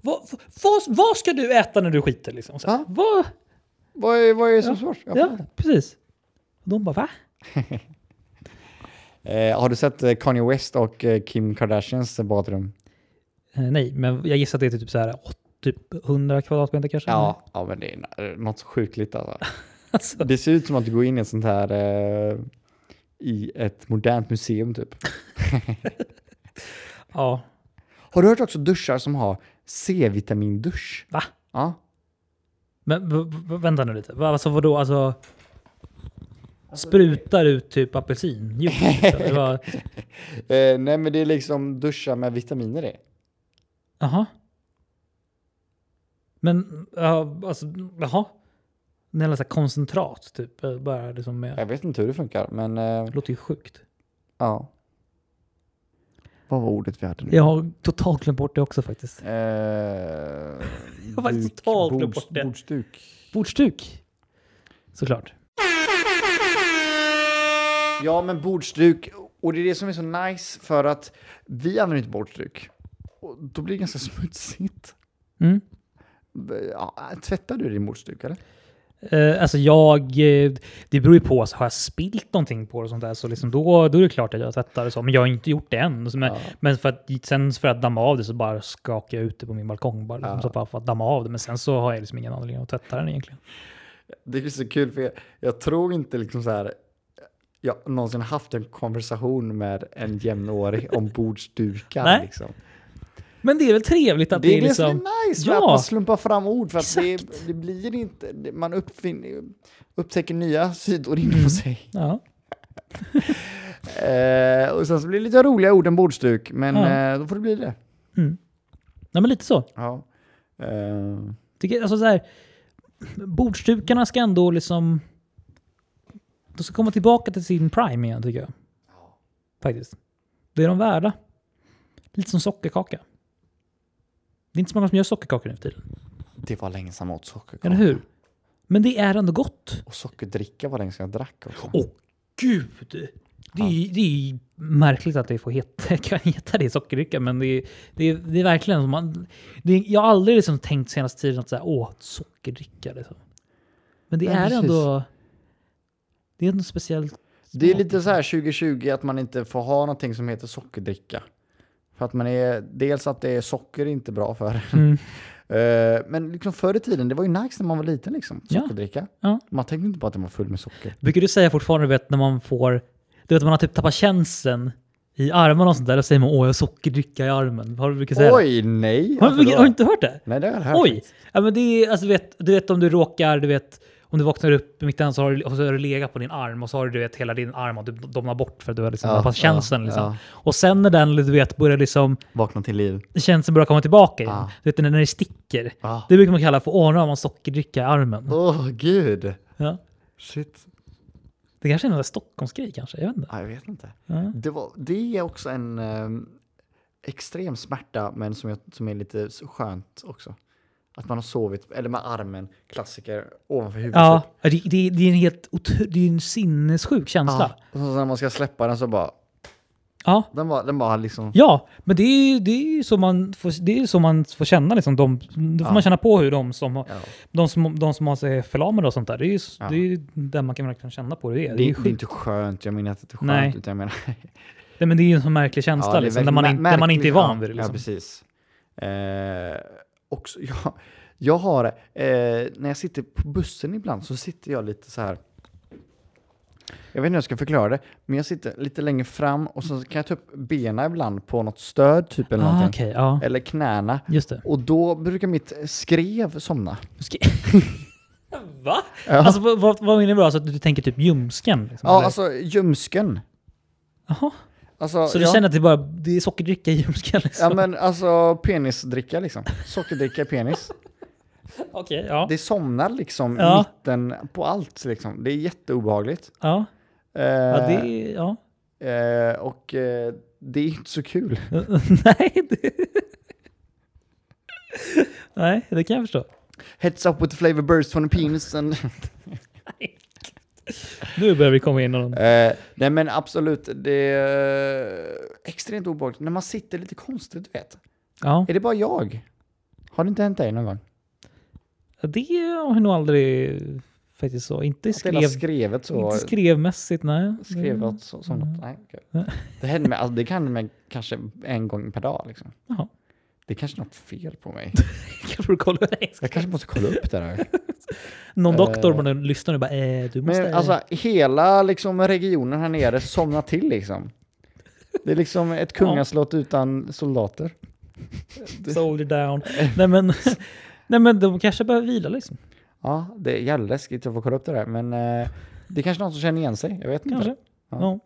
Speaker 3: Vad, vad, vad ska du äta när du skiter liksom? Så här,
Speaker 4: Ja.
Speaker 3: vad,
Speaker 4: Vad är, vad är det som svårt? Jag
Speaker 3: ja, precis. Och de bara va?
Speaker 4: Eh, har du sett eh, Kanye West och eh, Kim Kardashians badrum?
Speaker 3: Eh, nej, men jag gissar att det är typ så här åh, typ 100 kvadratmeter kanske.
Speaker 4: Ja, ja men det är eh, något sjukligt alltså.
Speaker 3: Alltså,
Speaker 4: Det ser ut som att du går in i ett sånt här eh, i ett modernt museum typ.
Speaker 3: ja.
Speaker 4: Har du hört också duschar som har C-vitamindusch?
Speaker 3: Va?
Speaker 4: Ja.
Speaker 3: Men v- v- vänta nu lite. Va- Alltså vadå? Alltså,
Speaker 4: Alltså,
Speaker 3: sprutar ut typ apelsinjuice? liksom? Det var-
Speaker 4: Eh, nej men det är liksom duschar med vitaminer i.
Speaker 3: Jaha. Men, ja, alltså, jaha. En jävla så här koncentrat typ. eh, Bara liksom med,
Speaker 4: Jag vet inte hur det funkar men eh,
Speaker 3: det låter ju sjukt.
Speaker 4: ja.
Speaker 7: Vad var ordet vi hade nu?
Speaker 3: Jag har totalt glömt bort det också faktiskt.
Speaker 4: Eh, jag
Speaker 3: har faktiskt totalt glömt bort det.
Speaker 4: Eh, Bordsduk.
Speaker 3: Bordsduk. Såklart.
Speaker 7: Ja, men bordsduk. Och det är det som är så nice för att vi använder inte bordsduk. Och då blir det ganska smutsigt.
Speaker 3: Mm.
Speaker 7: Ja, tvättar du din bordsduk eller?
Speaker 3: Eh, alltså jag, eh, det beror ju på, alltså, har jag spilt någonting på det och sånt där så liksom då, då är det klart att jag tvättar och så. Men jag har inte gjort det än. Så Men, men för att, sen för att damma av det så bara skakar jag ut det på min balkong. Bara, liksom, så bara för att damma av det. Men sen så har jag liksom ingen anledning att tvätta den egentligen.
Speaker 4: Det är så kul för jag, jag tror inte liksom så här jag har någonsin haft en konversation med en jämnårig om bordsdukar.
Speaker 3: Nej.
Speaker 4: Liksom.
Speaker 3: Men det är väl trevligt att det,
Speaker 4: Det är
Speaker 3: är
Speaker 4: det som
Speaker 3: liksom...
Speaker 4: är nice, för
Speaker 3: ja.
Speaker 4: att man slumpar fram ord. För att det,
Speaker 3: Exakt.
Speaker 4: det blir inte, det- man uppfin, upptäcker nya sidor
Speaker 3: Mm.
Speaker 4: inom sig.
Speaker 3: Ja.
Speaker 4: Eh, och sen så blir det lite roliga ord än bordsduk, men
Speaker 3: Ja.
Speaker 4: eh, då får det bli det.
Speaker 3: Nej, men lite så.
Speaker 4: Ja. Eh,
Speaker 3: Tycker, alltså, så här, bordsdukarna ska ändå liksom... De ska komma tillbaka till sin prime igen tycker jag. Faktiskt. Det är de värda. Lite som sockerkaka. Det är inte så många som gör sockerkakor nu för tiden.
Speaker 4: det var länge sedan jag åt sockerkaka.
Speaker 3: Eller hur? Men det är ändå gott.
Speaker 4: Och sockerdricka var länge sedan jag drack också.
Speaker 3: Åh gud! Det är, det är märkligt att det får heta, kan heta det sockerdricka, men det är, det är, det är verkligen som man... Det är, jag har aldrig liksom tänkt senaste tiden att säga åh, sockerdricka liksom. Men det
Speaker 4: Nej,
Speaker 3: är
Speaker 4: precis.
Speaker 3: ändå... Det är ändå speciellt.
Speaker 4: Det är lite så här 2020 att man inte får ha någonting som heter sockerdricka. För att man är, dels att det är socker är inte bra för en.
Speaker 3: Mm.
Speaker 4: Eh, Men liksom förr i tiden, det var ju nice när man var liten liksom.
Speaker 3: Ja.
Speaker 4: Sockerdricka.
Speaker 3: Ja.
Speaker 4: Man tänkte inte på att den var full med socker.
Speaker 3: Brukar du säga fortfarande du vet, när man får... Du vet, man har typ tappat känseln i armarna och sånt där. Då säger man åh, jag har sockerdricka i armen. Har du brukat säga
Speaker 4: Oj, nej!
Speaker 3: det? Har,
Speaker 4: Varför
Speaker 3: du-
Speaker 4: då?
Speaker 3: har du inte hört det?
Speaker 4: Nej, det har jag hört.
Speaker 3: Oj! Ja, men det är, alltså, du, vet, du vet om du råkar, du vet, om du vaknar upp mitt i natten så har du, och så har du legat på din arm och så har du, du vet, hela din arm och du domnar bort för att du har liksom
Speaker 4: Ja,
Speaker 3: tappat
Speaker 4: ja,
Speaker 3: känslan. liksom.
Speaker 4: ja.
Speaker 3: Och sen när den du vet, börjar liksom,
Speaker 4: Vakna till liv.
Speaker 3: känslan börjar komma tillbaka igen,
Speaker 4: Ja.
Speaker 3: du vet, när det sticker.
Speaker 4: Ja.
Speaker 3: Det brukar man kalla för åh, nu har man sockerdricka i armen.
Speaker 4: Åh, gud!
Speaker 3: Ja.
Speaker 4: Shit.
Speaker 3: Det kanske är någon Stockholmsgrej kanske, jag vet inte.
Speaker 4: Ja, jag vet inte.
Speaker 3: Ja.
Speaker 4: Det, var, det är också en ehm, extrem smärta, men som, jag, som är lite så skönt också. Att man har sovit, eller med armen, klassiker, ovanför huvudet. typ.
Speaker 3: Ja, det, det, det är en helt otro, det är en sinnessjuk känsla.
Speaker 4: Ja, och så när man ska släppa den så bara,
Speaker 3: Ja.
Speaker 4: den bara, den bara liksom...
Speaker 3: Ja, men det är ju det är ju så man får, det är ju så man får känna. Liksom, de, då får man känna på hur de som, har- de som, de som har sig förlamade och sånt där, det är ju s- det är ju där man kan verkligen känna på hur det är. Det,
Speaker 4: Det
Speaker 3: är ju
Speaker 4: är, det är
Speaker 3: sjukt.
Speaker 4: inte skönt, jag menar att det inte är skönt.
Speaker 3: Nej.
Speaker 4: Utan jag menar,
Speaker 3: Nej, men det är ju en sån märklig känsla
Speaker 4: det är
Speaker 3: liksom,
Speaker 4: väldigt
Speaker 3: där, man,
Speaker 4: mär-
Speaker 3: inte- där man inte är
Speaker 4: märkligt.
Speaker 3: van vid det.
Speaker 4: Ja, Ja,
Speaker 3: Liksom.
Speaker 4: precis. Eh, också, jag, jag har, eh, när jag sitter på bussen ibland så sitter jag lite så här. Jag vet inte hur jag ska förklara det, men jag sitter lite längre fram och så kan jag ta upp benen ibland på något stöd typ eller
Speaker 3: ah,
Speaker 4: någonting.
Speaker 3: okej, ja.
Speaker 4: Eller knäna.
Speaker 3: Just det.
Speaker 4: Och då brukar mitt skrev somna.
Speaker 3: Ska- Va? Alltså, vad- vad, vad menar du? Alltså, att du tänker typ ljumsken? Liksom,
Speaker 4: Ja,
Speaker 3: eller?
Speaker 4: alltså ljumsken.
Speaker 3: Jaha.
Speaker 4: Alltså,
Speaker 3: Så du
Speaker 4: ja.
Speaker 3: känner att det är, bara, det är sockerdricka i ljumsken? Liksom.
Speaker 4: Ja men alltså penisdricka liksom. Sockerdricka i penis.
Speaker 3: Okej, ja.
Speaker 4: Det somnar liksom
Speaker 3: Ja.
Speaker 4: i mitten på allt liksom. Det är jätteobehagligt.
Speaker 3: ja.
Speaker 4: Eh,
Speaker 3: Ja, det är... Ja.
Speaker 4: eh, och eh, det är inte så kul.
Speaker 3: Nej, det... Nej, det kan jag förstå.
Speaker 4: Heads up with the flavor burst from the penis. And
Speaker 3: Nu börjar vi komma in i någon...
Speaker 4: eh, nej men absolut, det är extremt obehagligt. När man sitter lite konstigt, du vet.
Speaker 3: Ja,
Speaker 4: Är det bara jag? Har det inte hänt dig någon gång?
Speaker 3: det har jag nog aldrig faktiskt så. Inte
Speaker 4: Att hela
Speaker 3: skrev...
Speaker 4: skrevet så.
Speaker 3: Inte Mm. skrevmässigt, nej.
Speaker 4: Skrev att så, som något. Nej, okej.
Speaker 3: Nej.
Speaker 4: det, hände med, alltså, det kan hända mig kanske en gång per dag. Liksom.
Speaker 3: Jaha.
Speaker 4: Det är kanske något fel på mig.
Speaker 3: Jag får kolla det.
Speaker 4: Jag kanske måste kolla upp det här.
Speaker 3: Någon
Speaker 4: Eh.
Speaker 3: doktor bara lyssnar nu bara eh, du måste...
Speaker 4: Men alltså hela liksom, regionen här nere somnar till liksom. Det är liksom ett kungaslott utan soldater.
Speaker 3: Soldier down. nej, men, nej men de kanske behöver vila liksom.
Speaker 4: Ja, det är jävligt läskigt. Jag får kolla upp det där. Men eh, det är kanske någon som känner igen sig. Jag vet
Speaker 3: Kanske.
Speaker 4: inte.
Speaker 3: Ja.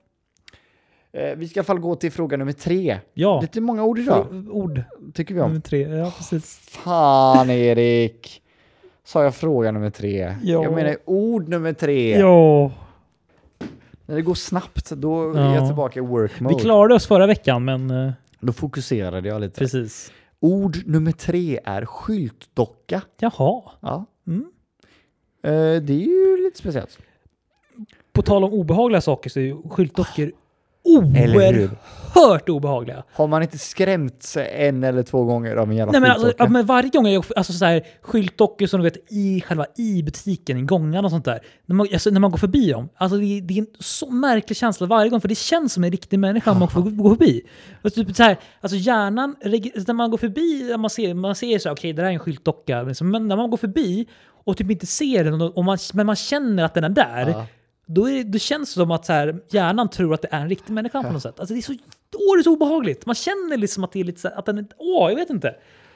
Speaker 4: Ja. Eh, vi ska i alla fall gå till fråga nummer tre.
Speaker 3: Ja.
Speaker 4: Lite många ord idag,
Speaker 3: O- Ord
Speaker 4: tycker vi om.
Speaker 3: nummer tre. Ja, precis.
Speaker 4: Fan Erik! Sa jag fråga nummer tre?
Speaker 3: Ja.
Speaker 4: Jag menar ord nummer tre.
Speaker 3: Ja.
Speaker 4: När det går snabbt, då är
Speaker 3: Ja.
Speaker 4: jag tillbaka i work
Speaker 3: Vi
Speaker 4: mode.
Speaker 3: klarade oss förra veckan, men eh,
Speaker 4: Då fokuserade jag lite.
Speaker 3: precis.
Speaker 4: Ord nummer tre är skyltdocka.
Speaker 3: Jaha.
Speaker 4: Ja.
Speaker 3: Mm.
Speaker 4: Eh, det är ju lite speciellt.
Speaker 3: På tal om obehagliga saker så är ju skyltdockor
Speaker 4: Eller hur?
Speaker 3: oerhört obehagliga.
Speaker 4: Har man inte skrämts en eller två gånger av en jävla
Speaker 3: Nej, men, alltså,
Speaker 4: skyltdocka?
Speaker 3: ja, men varje gång jag alltså, så här, skyltdockor som du vet i själva i butiken, i gångarna och sånt där. När man, alltså, när man går förbi dem. Alltså, det, är- det är en så märklig känsla varje gång för det känns som en riktig människa man får gå- gå förbi. Alltså, typ, så här, alltså, hjärnan, reg- när man går förbi, när man ser, man ser så här, okej det där är en skyltdocka. liksom, Men när man går förbi och typ inte ser den, och man, men man känner att den är där. Då, är, det- då känns det som att så här, hjärnan tror att det är en riktig människa på något sätt. Alltså, det är så, åh, det är så obehagligt. Man känner liksom att det är lite så här, att den inte, åh, jag vet inte.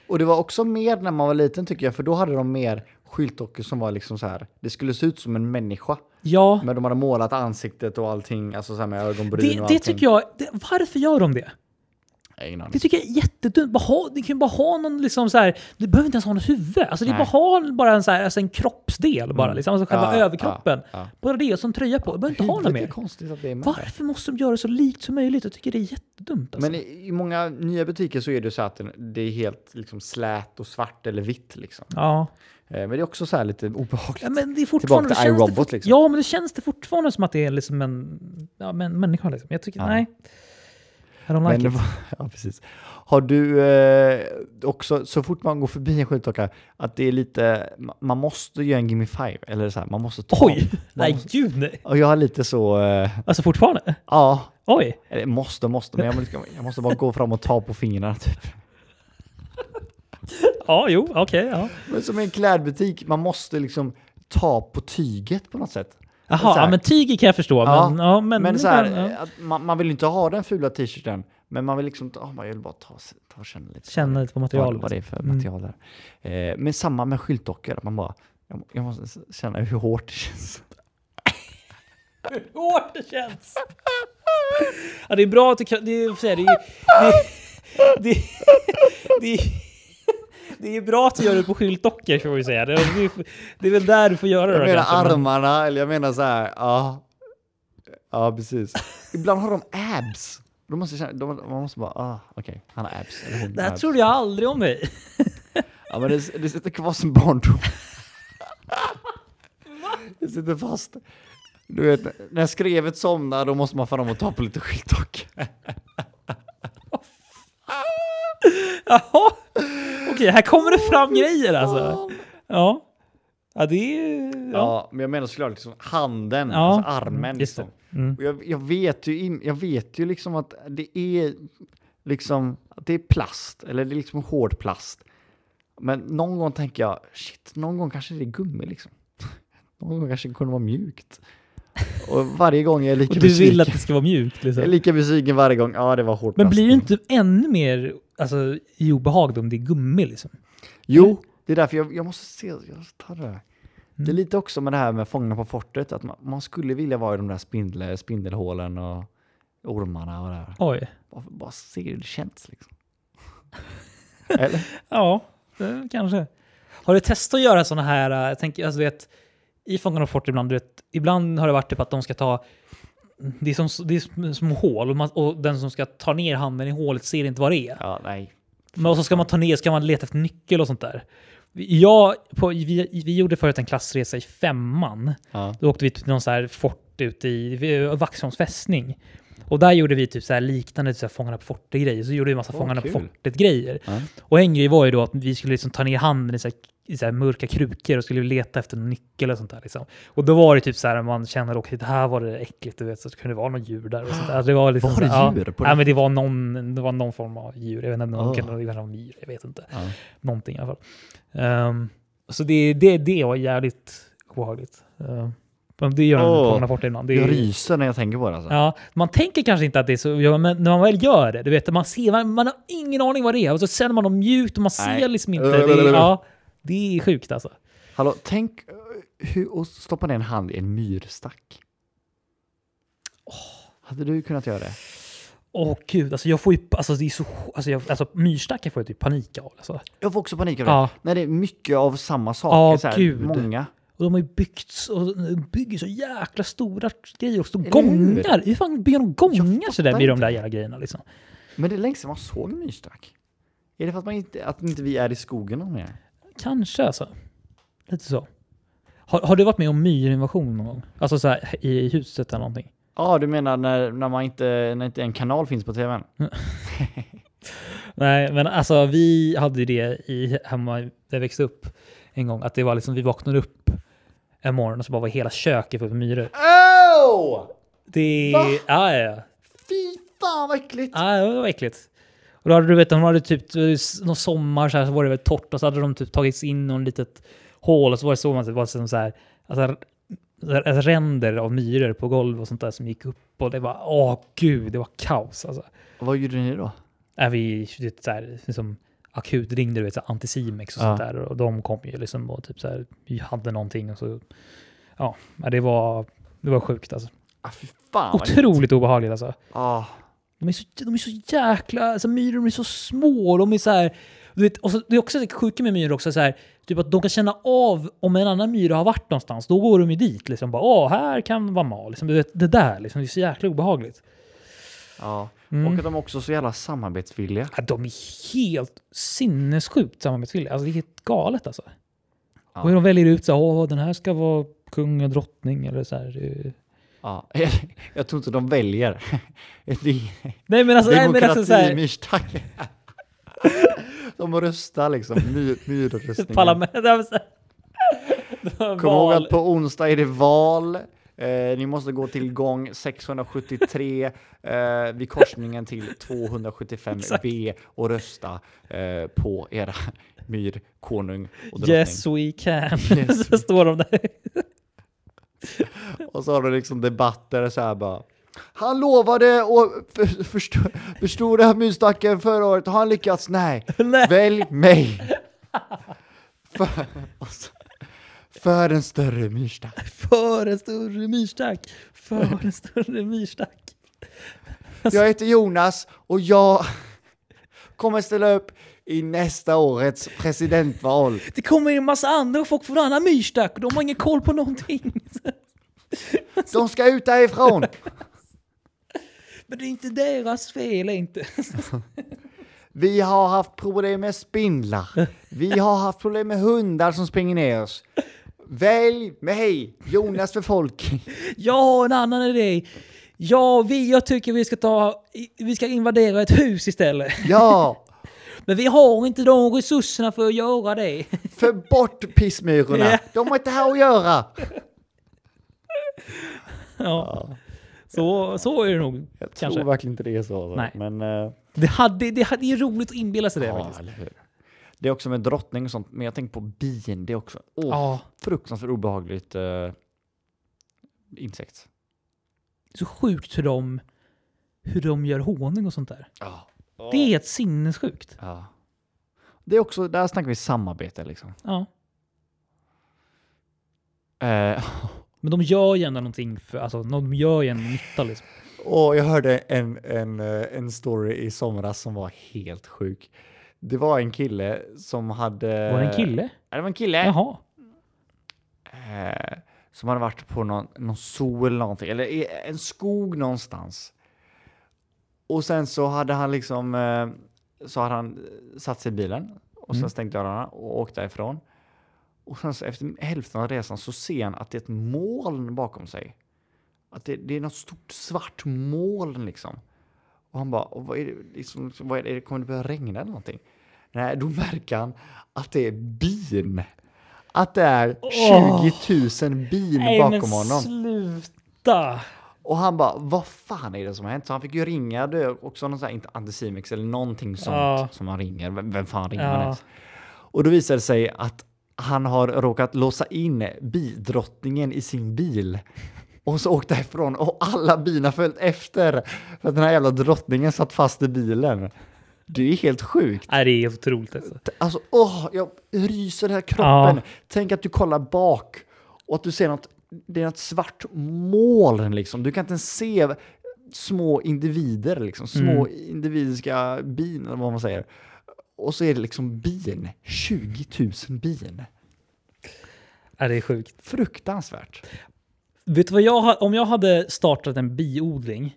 Speaker 4: Och det var också mer när man var liten tycker jag, för då hade de mer skyltdockor som var liksom så här. Det skulle se ut som en människa.
Speaker 3: Ja,
Speaker 4: Men de hade målat ansiktet och allting, alltså så här med ögonbryn och
Speaker 3: det,
Speaker 4: allting.
Speaker 3: det tycker jag. Det, varför gör de det?
Speaker 4: jag... Ingen aning.
Speaker 3: Det tycker jag är jättedumt. Bara ha, ni kan ju bara ha någon liksom så här, du behöver inte ens ha något huvud. Alltså det är bara
Speaker 4: Nej. Mm.
Speaker 3: ha en- bara en, så här, alltså en kroppsdel bara, liksom. alltså själva
Speaker 4: Ja,
Speaker 3: överkroppen.
Speaker 4: ja, ja.
Speaker 3: Bara det och så en tröja på. Du behöver inte ha något
Speaker 4: Huvudet är
Speaker 3: mer.
Speaker 4: konstigt att det är med.
Speaker 3: Varför måste de göra det så likt som möjligt? Jag tycker det är jättedumt. Alltså.
Speaker 4: Men i, i många nya butiker så är det så att den- det är helt liksom slät och svart eller vitt liksom.
Speaker 3: ja.
Speaker 4: Eh, Men det är också så här lite obehagligt.
Speaker 3: ja, men det är
Speaker 4: till
Speaker 3: fortfarande... det känns det
Speaker 4: iRobot,
Speaker 3: fort-
Speaker 4: liksom.
Speaker 3: Ja, men det känns det fortfarande som att det är liksom en, ja, men en människa. Liksom. Jag tycker, nej. I don't
Speaker 4: Men
Speaker 3: like
Speaker 4: det
Speaker 3: it.
Speaker 4: var, ja, precis. Har du eh, också, så fort man går förbi en skyltdocka, att det är lite, ma- man måste göra en gimme five, eller så här, man måste ta.
Speaker 3: Oj! Nej, gud nej.
Speaker 4: Och jag har lite så, eh,
Speaker 3: Alltså fortfarande?
Speaker 4: ja,
Speaker 3: Oj!
Speaker 4: eller måste, måste, men jag måste, jag måste bara gå fram och ta på fingrarna typ.
Speaker 3: Ja, jo, okej. ja.
Speaker 4: Men som i en klädbutik, man måste liksom ta på tyget på något sätt.
Speaker 3: Jaha,
Speaker 4: Så här.
Speaker 3: ja, men tyger kan jag förstå.
Speaker 4: Ja,
Speaker 3: men, ja, men,
Speaker 4: Men så här,
Speaker 3: men, ja.
Speaker 4: eh, att man, man vill inte ha den fula t-shirten, men man vill liksom, ta- ah, man vill bara ta, ta och känna lite.
Speaker 3: Känna lite på materialet.
Speaker 4: Vad, vad det är för material där. Eh, men samma med skyltdockor, att man bara, jag, må- jag måste s- känna hur hårt det känns.
Speaker 3: Hur hårt det känns! Ja, det är bra att du kan... Det är, så här, det, är, det, är, det, är, det är bra att du gör det på skyltdockor, får vi säga. Det är, det är, det är väl där du får göra det.
Speaker 4: Jag
Speaker 3: då,
Speaker 4: menar
Speaker 3: kanske, men-
Speaker 4: armarna, eller jag menar så här, ja. Ja, precis. Ibland har de abs. De måste känna, de, man måste bara, ah, okej, han har abs. Eller hon
Speaker 3: Det
Speaker 4: har
Speaker 3: här
Speaker 4: abs.
Speaker 3: trodde jag aldrig om dig.
Speaker 4: Ja, men det, det sitter kvar som barndom. det sitter fast. Du vet, när skrevet somnar då måste man fram och ta på lite skyltdock.
Speaker 3: Jaha! Okej, här kommer det fram grejer alltså. Ja. Ja, det är... Ja.
Speaker 4: Ja, men jag menar såklart liksom handen,
Speaker 3: Ja,
Speaker 4: alltså armen.
Speaker 3: mm, just det.
Speaker 4: Liksom.
Speaker 3: Mm.
Speaker 4: Och jag, jag, vet ju in, jag vet ju liksom att det är liksom att det är plast, eller det är liksom hård plast. Men någon gång tänker jag, shit, någon gång kanske det är gummi liksom. Någon gång kanske det kunde vara mjukt. Och varje gång är jag lika
Speaker 3: Och du vill
Speaker 4: besviken.
Speaker 3: att det ska vara mjukt liksom.
Speaker 4: Jag är lika besviken varje gång. Ja, det var hårt.
Speaker 3: Men
Speaker 4: plast.
Speaker 3: blir ju inte ännu mer alltså, i obehag då om det är gummi liksom?
Speaker 4: Jo, det är därför jag, jag måste se. Jag tar det. här. Det är
Speaker 3: Mm.
Speaker 4: lite också med det här med Fångarna på fortet. Att man, man skulle vilja vara i de där spindel, spindelhålen och ormarna och det här.
Speaker 3: Oj.
Speaker 4: Bara, bara se hur det känns liksom. Eller?
Speaker 3: Ja, det, kanske. Har du testat att göra sådana här, eh, jag tänker, alltså, du vet, i Fångarna på fortet ibland, du vet, ibland har det varit typ att de ska ta, det är som, det är som- som hål och, man, och den som ska ta ner handen i hålet ser inte vad det är.
Speaker 4: Ja, nej.
Speaker 3: Men och så ska man ta ner, ska man leta efter nyckel och sånt där. Jag, på, vi, vi gjorde förut en klassresa i femman.
Speaker 4: Ja.
Speaker 3: Då åkte vi till någon så här fort ute i vid Vaxholms fästning. Och där gjorde vi typ så här liknande så här Fångarna på fortet-grejer. Så gjorde vi en massa Fångarna
Speaker 4: kul.
Speaker 3: på fortet-grejer.
Speaker 4: Ja.
Speaker 3: Och en grej var ju då att vi skulle liksom ta ner handen i så här i så här mörka krukor och skulle leta efter en nyckel och sånt där. Liksom. Och då var det typ så här, man kände också, det här var det äckligt, du vet, så det kunde vara något djur där. Och sånt där. Alltså, Det var, liksom,
Speaker 4: Var det
Speaker 3: så här,
Speaker 4: djur
Speaker 3: Ja,
Speaker 4: på
Speaker 3: nej,
Speaker 4: det?
Speaker 3: men det var, någon, det var någon form av djur, jag vet inte, någon,
Speaker 4: Ah.
Speaker 3: kan- det var någon myr, jag vet inte. Någonting i alla fall. Ehm, så det, det, det var jävligt obehagligt. Ehm, men det gör
Speaker 4: Åh,
Speaker 3: man oh, bort innan. Det
Speaker 4: Jag
Speaker 3: är-
Speaker 4: ryser när jag tänker på det alltså.
Speaker 3: Ja, man tänker kanske inte att det är så, ja, men när man väl gör det, du vet, man ser, man, man har ingen aning vad det är, och så känner man dem mjukt och man ser
Speaker 4: Nej.
Speaker 3: liksom inte. Det, är- ja, det är sjukt alltså.
Speaker 4: Hallå, tänk eh, hur, att stoppa ner en hand i en myrstack. Hade du kunnat göra det?
Speaker 3: Åh gud, alltså jag får ju, alltså det är så, alltså, jag, alltså myrstackar får jag typ panik av. Alltså.
Speaker 4: Jag får också panik av det.
Speaker 3: Ja,
Speaker 4: När det är mycket av samma sak.
Speaker 3: Ja,
Speaker 4: det är så här,
Speaker 3: gud.
Speaker 4: Många.
Speaker 3: och de har ju byggt, och bygger så jäkla stora grejer också.
Speaker 4: hur?
Speaker 3: Gångar! Hur fan bygger de gångar
Speaker 4: Jag
Speaker 3: sådär
Speaker 4: fattar
Speaker 3: med de
Speaker 4: inte.
Speaker 3: där jävla grejerna liksom?
Speaker 4: Men det är länge sedan man såg en myrstack. Är det för att, man inte, att inte vi är i skogen någon mer?
Speaker 3: Kanske alltså. Lite så. Har, har du varit med om myrinvasion någon gång? Alltså såhär i, i huset eller någonting?
Speaker 4: Ja, du menar när, när, man inte, när inte en kanal finns på tvn?
Speaker 3: Nej, men alltså vi hade ju det i, hemma där jag växte upp en gång. Att det var liksom, vi vaknade upp en morgon och så bara var hela köket fullt med myror.
Speaker 4: Åh!
Speaker 5: Oh!
Speaker 3: Det...
Speaker 4: Va?
Speaker 3: Ja, ja, ja.
Speaker 4: Fy fan vad äckligt!
Speaker 3: Ja, det var äckligt. Och då hade du vet, de hade typ eh, s- någon sommar så, här, så var det väl torrt och så hade de typ tagits in i någon litet hål och så var det så man det var som så här, alltså, r- alltså, ränder av myror på golv och sånt där som gick upp och det var åh gud, det var kaos alltså.
Speaker 4: Vad gjorde ni då?
Speaker 3: Är vi det, så här, liksom, akut ringde du vet, så här, Anticimex och
Speaker 4: Ja.
Speaker 3: sånt där och de kom ju liksom och typ så här, vi hade någonting och så ja, men det var det var sjukt alltså.
Speaker 4: Ah, fy fan vad äckligt.
Speaker 3: Otroligt obehagligt alltså.
Speaker 4: Ah.
Speaker 3: De är så, de är så jäkla... Alltså, myror de är så små. De är så här, du vet, och så, det är också det sjuka med myror också. Så här, typ att de kan känna av om en annan myra har varit någonstans. Då går de ju dit. Liksom, bara, Åh, här kan vara mal. Liksom, du vet, det där liksom, det är så jäkla obehagligt.
Speaker 4: Ja. Och att de också är så jävla samarbetsvilliga.
Speaker 3: Ja, de är helt sinnessjukt samarbetsvilliga. Alltså, det är helt galet alltså.
Speaker 4: Ja.
Speaker 3: Och hur de väljer ut så här, Åh, den här ska vara kung och drottning. Eller så här. det-
Speaker 4: Ja. Jag tror inte de väljer. Det är
Speaker 3: Nej men alltså... Nej, men alltså
Speaker 4: demokrati
Speaker 3: så
Speaker 4: i
Speaker 3: här,
Speaker 4: myrstacken. De röstar liksom, myr, myrröstningen.
Speaker 3: parlament... alltså.
Speaker 4: Kom ihåg
Speaker 3: Val.
Speaker 4: att på onsdag är det val. Eh, ni måste gå till gång 673 eh, vid korsningen till 275B och rösta eh, på era myr, konung och drottning.
Speaker 3: Yes we can.
Speaker 4: Yes,
Speaker 3: så står de där.
Speaker 4: Och så har du liksom debatter så här bara. Han lovade att för- förstö- förstora myrstacken förra året. Har han lyckats? Nej.
Speaker 3: Nej.
Speaker 4: Välj mig. För, och så- för en större myrstack.
Speaker 3: För en större myrstack! För en större myrstack!
Speaker 4: Jag heter Jonas och jag kommer ställa upp i nästa årets presidentval.
Speaker 3: Det kommer in en massa andra folk från annan myrstack och de har ingen koll på någonting.
Speaker 4: De ska ut därifrån.
Speaker 3: Men det är inte deras fel inte.
Speaker 4: Vi har haft problem med spindlar. Vi har haft problem med hundar som springer ner oss. Välj mig, Jonas för folk.
Speaker 3: Jag har en annan idé. Ja, vi, jag tycker vi ska ta... Vi ska invadera ett hus istället.
Speaker 4: Ja,
Speaker 3: Men vi har inte de resurserna för att göra det.
Speaker 4: för bort pissmyrorna. De har inte här att göra.
Speaker 3: Ja. Så, så är det nog. Kanske.
Speaker 4: verkligen inte det är så. alltså.
Speaker 3: Nej.
Speaker 4: Men, eh,
Speaker 3: Det, hade, det, hade, det är roligt att inbilla sig det
Speaker 4: ja,
Speaker 3: faktiskt.
Speaker 4: eller hur? Det är också med drottning och sånt, men jag tänker på bin. Det är också åh,
Speaker 3: Ja.
Speaker 4: fruktansvärt obehagligt eh, insekt.
Speaker 3: Det är så sjukt hur de, hur de gör honung och sånt där.
Speaker 4: Ja.
Speaker 3: Det är helt sinnessjukt.
Speaker 4: ja. Det är också, där snackar vi samarbete liksom.
Speaker 3: Ja.
Speaker 4: Eh,
Speaker 3: Men de gör ju ändå någonting, för, alltså, de gör ju ändå nytta liksom.
Speaker 4: Och jag hörde en, en, eh, en story i somras som var helt sjuk. Det var en kille som hade...
Speaker 3: Var det en kille?
Speaker 4: Ja, det var en kille.
Speaker 3: Jaha.
Speaker 4: Eh, som hade varit på någon, någon sol eller någonting, eller i en skog någonstans. Och sen så hade han liksom, eh, så hade han eh, satt sig i bilen och
Speaker 3: Mm.
Speaker 4: sen stängt dörrarna och åkt därifrån. Och sen så efter hälften av resan så ser han att det är ett moln bakom sig. Att det, det är något stort svart moln liksom. Och han bara, "Och vad är det, liksom, vad är det, kommer det börja regna eller någonting? Nej, då märker han att det är bin. Att det är 20 000 bin
Speaker 3: Nej, men
Speaker 4: bakom honom.
Speaker 3: sluta!
Speaker 4: Och han bara, vad fan är det som har hänt? Så han fick ju ringa, det är också någon sån här, inte Anticimex eller någonting sånt
Speaker 3: Ja.
Speaker 4: som han ringer. Vem, vem fan ringer man
Speaker 3: Ja.
Speaker 4: ens? Och då visade det sig att han har råkat låsa in bidrottningen i sin bil. Och så åkte ifrån och alla bina följt efter. För att den här jävla drottningen satt fast i bilen. Det är ju helt sjukt.
Speaker 3: Nej, det är helt otroligt alltså.
Speaker 4: Alltså, åh, jag ryser i hela kroppen.
Speaker 3: Ja.
Speaker 4: Tänk att du kollar bak och att du ser något, det är något svart moln liksom. Du kan inte ens se små individer liksom, små
Speaker 3: Mm.
Speaker 4: individiska bin eller vad man säger. Och så är det liksom bin, 20 000 bin.
Speaker 3: Nej, det är sjukt.
Speaker 4: Fruktansvärt.
Speaker 3: Vet du vad jag ha- om jag hade startat en biodling,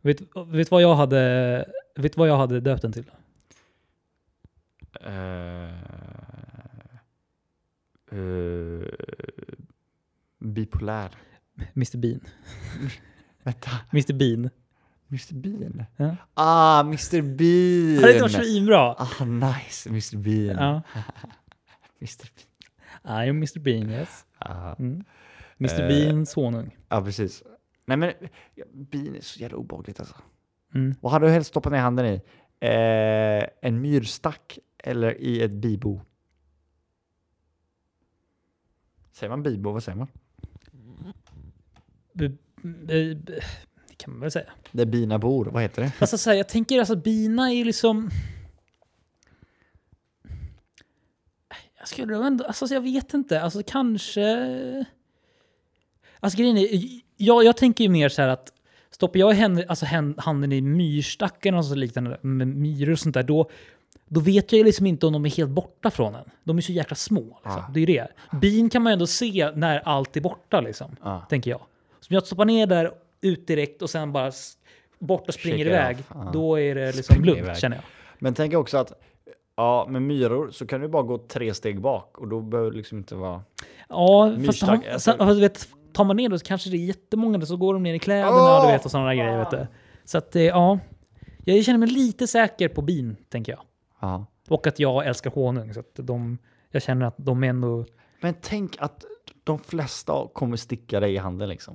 Speaker 3: vet, vet, vad jag hade, vet vad jag hade döpt den till? Eh,
Speaker 4: bipolär.
Speaker 3: Mr Bean.
Speaker 4: Vänta,
Speaker 3: Mr Bean.
Speaker 4: Mr Bean?
Speaker 3: Ja.
Speaker 4: Ah, Mr Bean!
Speaker 3: Hade det inte varit svinbra?
Speaker 4: Ah, nice, Mr Bean.
Speaker 3: Ja.
Speaker 4: Mr. Bean.
Speaker 3: I'm Mr Bean, yes.
Speaker 4: Ja.
Speaker 3: Mm. Mr
Speaker 4: Eh.
Speaker 3: Bean, sonung.
Speaker 4: Ja, precis. Nej, men ja, bin är så jävla obehagligt alltså.
Speaker 3: Mm.
Speaker 4: Vad hade du helst stoppat ner handen i? Eh, en myrstack eller i ett bibo? Säger man bibo? Vad säger man?
Speaker 3: B- b- b- Det kan man väl säga.
Speaker 4: Där bina bor, vad heter det?
Speaker 3: Alltså, så här, jag tänker alltså bina är liksom... Jag skulle nog ändå... Alltså, jag vet inte. Alltså kanske... Alltså grejen är, jag, jag tänker ju mer så här att stoppar jag händ, alltså, hän- handen i myrstacken och så liknande, med myror och sånt där, då, då vet jag ju liksom inte om de är helt borta från en. De är så jäkla små. Liksom.
Speaker 4: Ah.
Speaker 3: Det är ju det. Bin kan man ju ändå se när allt är borta, liksom,
Speaker 4: Ah.
Speaker 3: tänker jag. Så om jag stoppar ner där ut direkt och sen bara s- bort och springer
Speaker 4: Shakar
Speaker 3: iväg,
Speaker 4: off, ja.
Speaker 3: då är det liksom
Speaker 4: Ah. Springer
Speaker 3: lugnt
Speaker 4: iväg.
Speaker 3: känner jag.
Speaker 4: Men tänk också att ja, med myror så kan du bara gå tre steg bak och då behöver du liksom inte vara...
Speaker 3: Ja, fast,
Speaker 4: Myrstack,
Speaker 3: har-
Speaker 4: alltså.
Speaker 3: sen, fast du vet, tar man ner då så kanske det är jättemånga där, så går de ner i kläderna du vet, och sådana där grejer. Vet du. Så att, eh, ja. Jag känner mig lite säker på bin, tänker jag.
Speaker 4: Ja.
Speaker 3: Och att jag älskar honung. Så att de, jag känner att de är ändå...
Speaker 4: Men tänk att de flesta kommer sticka dig i handen liksom.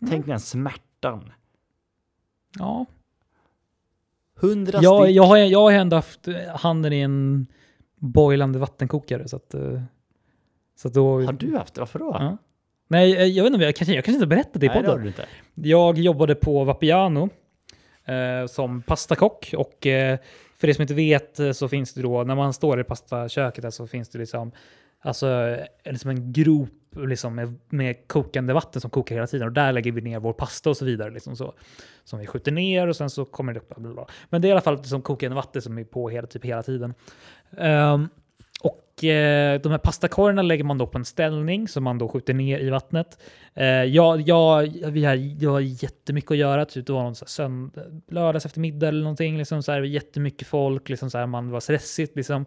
Speaker 3: Mm.
Speaker 4: Tänk den smärtan.
Speaker 3: Ja.
Speaker 4: Hundra
Speaker 3: Jag,
Speaker 4: stick.
Speaker 3: jag, har, jag har ändå haft handen i en boilande vattenkokare. Så att, eh, så att då...
Speaker 4: Har du haft det? Varför då?
Speaker 3: Ja. Nej, eh, jag vet inte. Jag kanske, jag kanske inte har berättat det i
Speaker 4: Nej, det har
Speaker 3: podden.
Speaker 4: du inte.
Speaker 3: Jag jobbade på Vapiano eh, som pastakock och eh, för er som inte vet eh, så finns det då, när man står i pastaköket där så finns det liksom, alltså, eh, liksom en grop liksom, med, med kokande vatten som kokar hela tiden och där lägger vi ner vår pasta och så vidare. Liksom så, som vi skjuter ner och sen så kommer det upp. Bla bla bla. Men det är i alla fall liksom kokande vatten som är på hela, typ, hela tiden. Ehm, och eh, de här pastakorgarna lägger man då på en ställning som man då skjuter ner i vattnet. Eh, jag, jag, vi har, jag har jättemycket att göra, typ det var någon så här sönd- lördags eftermiddag eller någonting, liksom så här, jättemycket folk, liksom så här, man var stressigt. Liksom.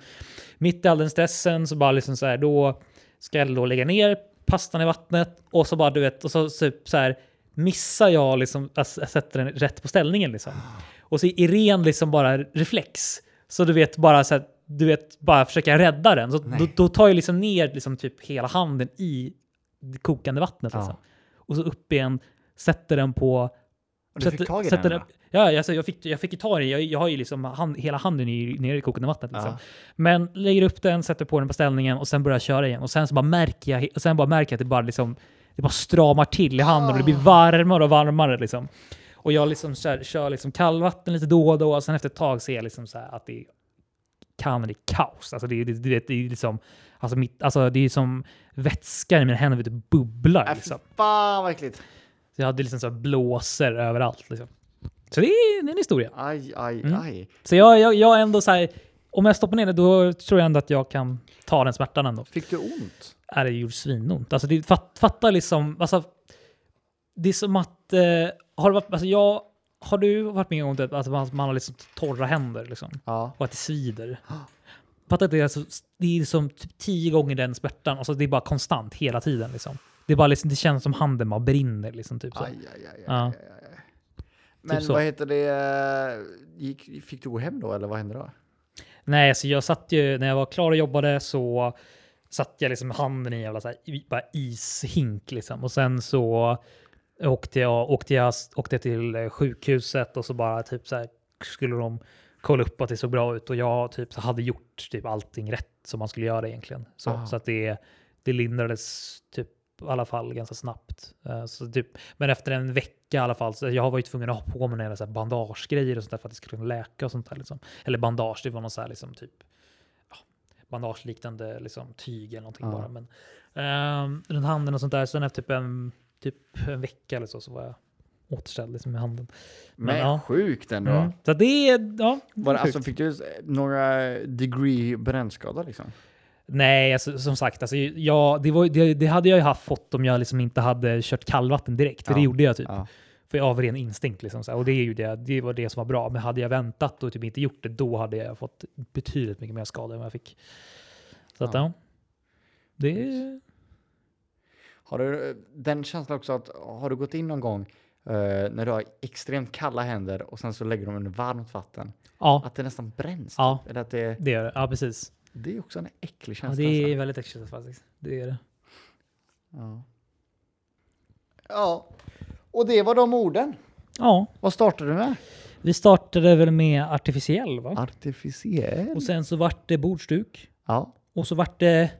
Speaker 3: Mitt i all den stressen så bara liksom så här, då ska jag då lägga ner pastan i vattnet och så bara du vet, och så typ så här missar jag liksom att s- att sätta den rätt på ställningen liksom. Och så är ren liksom bara reflex. Så du vet bara så här, du vet bara försöka rädda den. Så då, då tar jag liksom ner liksom typ hela handen i det kokande vattnet liksom. Och så upp igen, sätter den på...
Speaker 4: Och du fick tag i
Speaker 3: sätter
Speaker 4: den? va?
Speaker 3: ja, alltså, jag fick, jag fick ju ta den. Jag, jag har ju liksom hand, hela handen i, nere i kokande vattnet. Liksom. Men lägger upp den, sätter på den på ställningen och sen börjar jag köra igen. Och sen så bara märker jag, och sen bara märker jag att det bara, liksom, det bara stramar till i handen och det
Speaker 4: Ah.
Speaker 3: blir varmare och varmare. Liksom. Och jag liksom kör, kör liksom kallvatten lite då och då och sen efter ett tag ser jag liksom så här att det kan det är kaos. Alltså det, är- det, det, det är liksom, alltså mitt, alltså det är som vätska i mina händer, vet du,
Speaker 4: Äh,
Speaker 3: bubblar. Liksom.
Speaker 4: Fan vad äckligt.
Speaker 3: Så jag hade liksom så här blåser överallt. Liksom. Så det är, det är en historia. Mm.
Speaker 4: Aj, aj, aj.
Speaker 3: Så jag, jag, jag är ändå så här, om jag stoppar ner det då tror jag ändå att jag kan ta den smärtan ändå.
Speaker 4: Fick du ont?
Speaker 3: Äh, det gjorde svinont. Alltså det, fatt, fatta liksom, alltså, det är som att, eh, har, du varit, alltså jag, har du varit med om det, att man, man har liksom torra händer liksom,
Speaker 4: Ja.
Speaker 3: och att det svider? Fatta att det är, alltså, det är som typ tio gånger den smärtan, alltså det är bara konstant hela tiden. Liksom. Det, är bara liksom, det känns som handen bara brinner. Liksom, typ, så.
Speaker 4: Aj, aj, aj. aj.
Speaker 3: ja.
Speaker 4: Men
Speaker 3: Typ så.
Speaker 4: vad heter det? Gick, fick du gå hem då eller vad hände då?
Speaker 3: Nej, alltså jag satt ju, när jag var klar och jobbade så satt jag liksom med handen i en jävla så här, i- bara ishink liksom. Och sen så åkte jag, åkte jag åkte jag till eh, sjukhuset och så bara typ så här skulle de kolla upp att det såg bra ut och jag typ så hade gjort typ allting rätt som man skulle göra egentligen. Så, så att det, det lindrades typ i alla fall ganska snabbt. Eh, Så typ, men efter en vecka i alla fall, så jag var ju tvungen att ha på mig några så här bandagegrejer och sånt där för att det skulle kunna läka och sånt där. Liksom. Eller bandage, det var någon så här liksom typ ja, bandageliknande liksom, tyg eller någonting bara. Men, ehm, runt handen och sånt där. Sen efter typ en, typ en vecka eller så, så var jag återställd liksom, med handen. Men,
Speaker 4: Men
Speaker 3: ja.
Speaker 4: sjukt ändå.
Speaker 3: Mm. Så att det är, ja.
Speaker 4: Var det,
Speaker 3: sjukt.
Speaker 4: alltså, fick du eh, några degree brännskada liksom?
Speaker 3: Nej, alltså, som sagt, alltså, jag, det, var, det, det hade jag ju haft fått om jag liksom inte hade kört kallvatten direkt. För det
Speaker 4: Ja,
Speaker 3: gjorde jag typ.
Speaker 4: ja.
Speaker 3: För av ren instinkt. Liksom, så här. och det, är ju det, det var det som var bra. Men hade jag väntat och typ inte gjort det, då hade jag fått betydligt mycket mer skada än vad jag fick. Så att, ja. Det är...
Speaker 4: Har du eh, den känslan också att har du gått in någon gång eh, när du har extremt kalla händer och sen så lägger de under varmt vatten?
Speaker 3: Ja,
Speaker 4: Att det nästan bränns?
Speaker 3: Ja.
Speaker 4: Typ? Eller att det,
Speaker 3: det gör det. Ja, precis.
Speaker 4: det är också en äcklig
Speaker 3: Ja,
Speaker 4: känsla.
Speaker 3: det är
Speaker 4: alltså.
Speaker 3: väldigt äckligt faktiskt. Det är det.
Speaker 4: ja.
Speaker 8: Ja. Och det var de orden.
Speaker 3: Ja,
Speaker 4: Vad startade du med?
Speaker 3: vi startade väl med artificiell va?
Speaker 4: Artificiell?
Speaker 3: Och sen så vart det bordsduk.
Speaker 4: Ja.
Speaker 3: Och så vart det...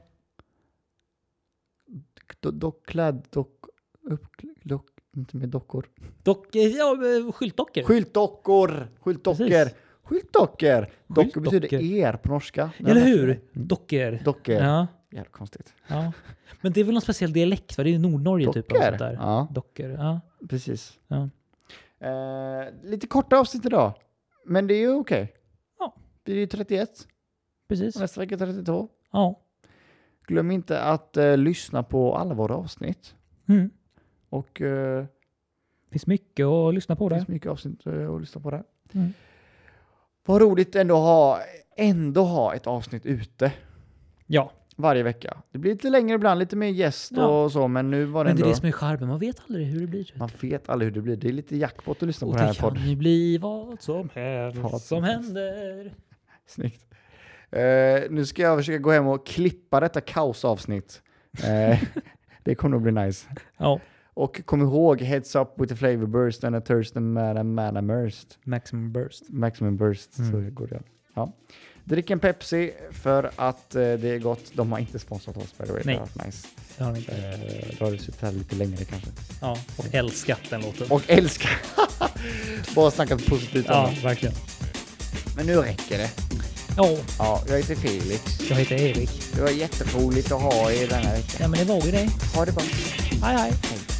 Speaker 4: Do, dock, klädd, dock, upp, dock, inte med dockor.
Speaker 3: Dock, eh, ja, skyltdockor.
Speaker 4: Skyltdockor! Skyltdockor!
Speaker 3: Precis.
Speaker 4: Skyltdockor! Dockor betyder
Speaker 3: Skyltdockor.
Speaker 4: er på norska.
Speaker 3: Eller hur? Dockor.
Speaker 4: Dockor.
Speaker 3: Ja,
Speaker 4: Jävligt konstigt.
Speaker 3: ja. Men det är väl någon speciell dialekt? Va? Det är Nordnorge typ.
Speaker 4: Dockor,
Speaker 3: Eller sånt där.
Speaker 4: ja.
Speaker 3: Dockor. Ja.
Speaker 4: Precis.
Speaker 3: Ja.
Speaker 4: Eh, lite korta avsnitt idag. Men det är ju okej.
Speaker 3: Ja.
Speaker 4: Det är ju 31
Speaker 3: Precis.
Speaker 4: och nästa vecka 32.
Speaker 3: Ja.
Speaker 4: Glöm inte att eh, lyssna på alla våra avsnitt.
Speaker 3: Mm.
Speaker 4: Och eh,
Speaker 3: finns mycket att lyssna på
Speaker 4: det
Speaker 3: där.
Speaker 4: finns mycket avsnitt eh, att lyssna på där.
Speaker 3: Mm.
Speaker 4: Vad roligt ändå att ha, ändå ha ett avsnitt ute
Speaker 3: Ja,
Speaker 4: varje vecka. Det blir lite längre ibland, lite mer gäst
Speaker 3: Ja.
Speaker 4: och så, men nu var det
Speaker 3: men det
Speaker 4: ändå...
Speaker 3: är det som är charmen. Man vet aldrig hur det blir.
Speaker 4: Man vet aldrig hur det blir. Det är lite jackpot att lyssna
Speaker 3: Och
Speaker 4: på den
Speaker 3: det
Speaker 4: här
Speaker 3: kan
Speaker 4: podden.
Speaker 3: ju bli vad som helst
Speaker 4: Vad som
Speaker 3: som
Speaker 4: helst.
Speaker 3: händer.
Speaker 4: Snyggt. Eh, nu ska jag försöka gå hem och klippa detta kaosavsnitt. Eh, det kommer nog bli nice.
Speaker 3: Ja,
Speaker 4: Och kom ihåg, heads up with the flavor burst and a thirst and man and man immersed.
Speaker 3: maximum burst.
Speaker 4: Maximum burst,
Speaker 3: Mm.
Speaker 4: så går det. Ja. Drick en Pepsi för att eh, det är gott. De har inte sponsrat oss by the way.
Speaker 3: Nej.
Speaker 4: Det har varit nice.
Speaker 3: Det har ni inte.
Speaker 4: Eh, då har du suttit här lite längre kanske.
Speaker 3: Ja, och älskat den låten.
Speaker 4: Och älskar. Bara snackat positivt om
Speaker 3: Ja,
Speaker 4: dem.
Speaker 3: verkligen.
Speaker 4: Men nu räcker det.
Speaker 3: Ja,
Speaker 4: Ja, jag heter Felix.
Speaker 3: jag heter Erik.
Speaker 4: Det var jätteroligt att ha er denna veckan.
Speaker 3: Ja, men det var ju det.
Speaker 4: Ha det bra.
Speaker 3: Hej, hej.
Speaker 4: Hej.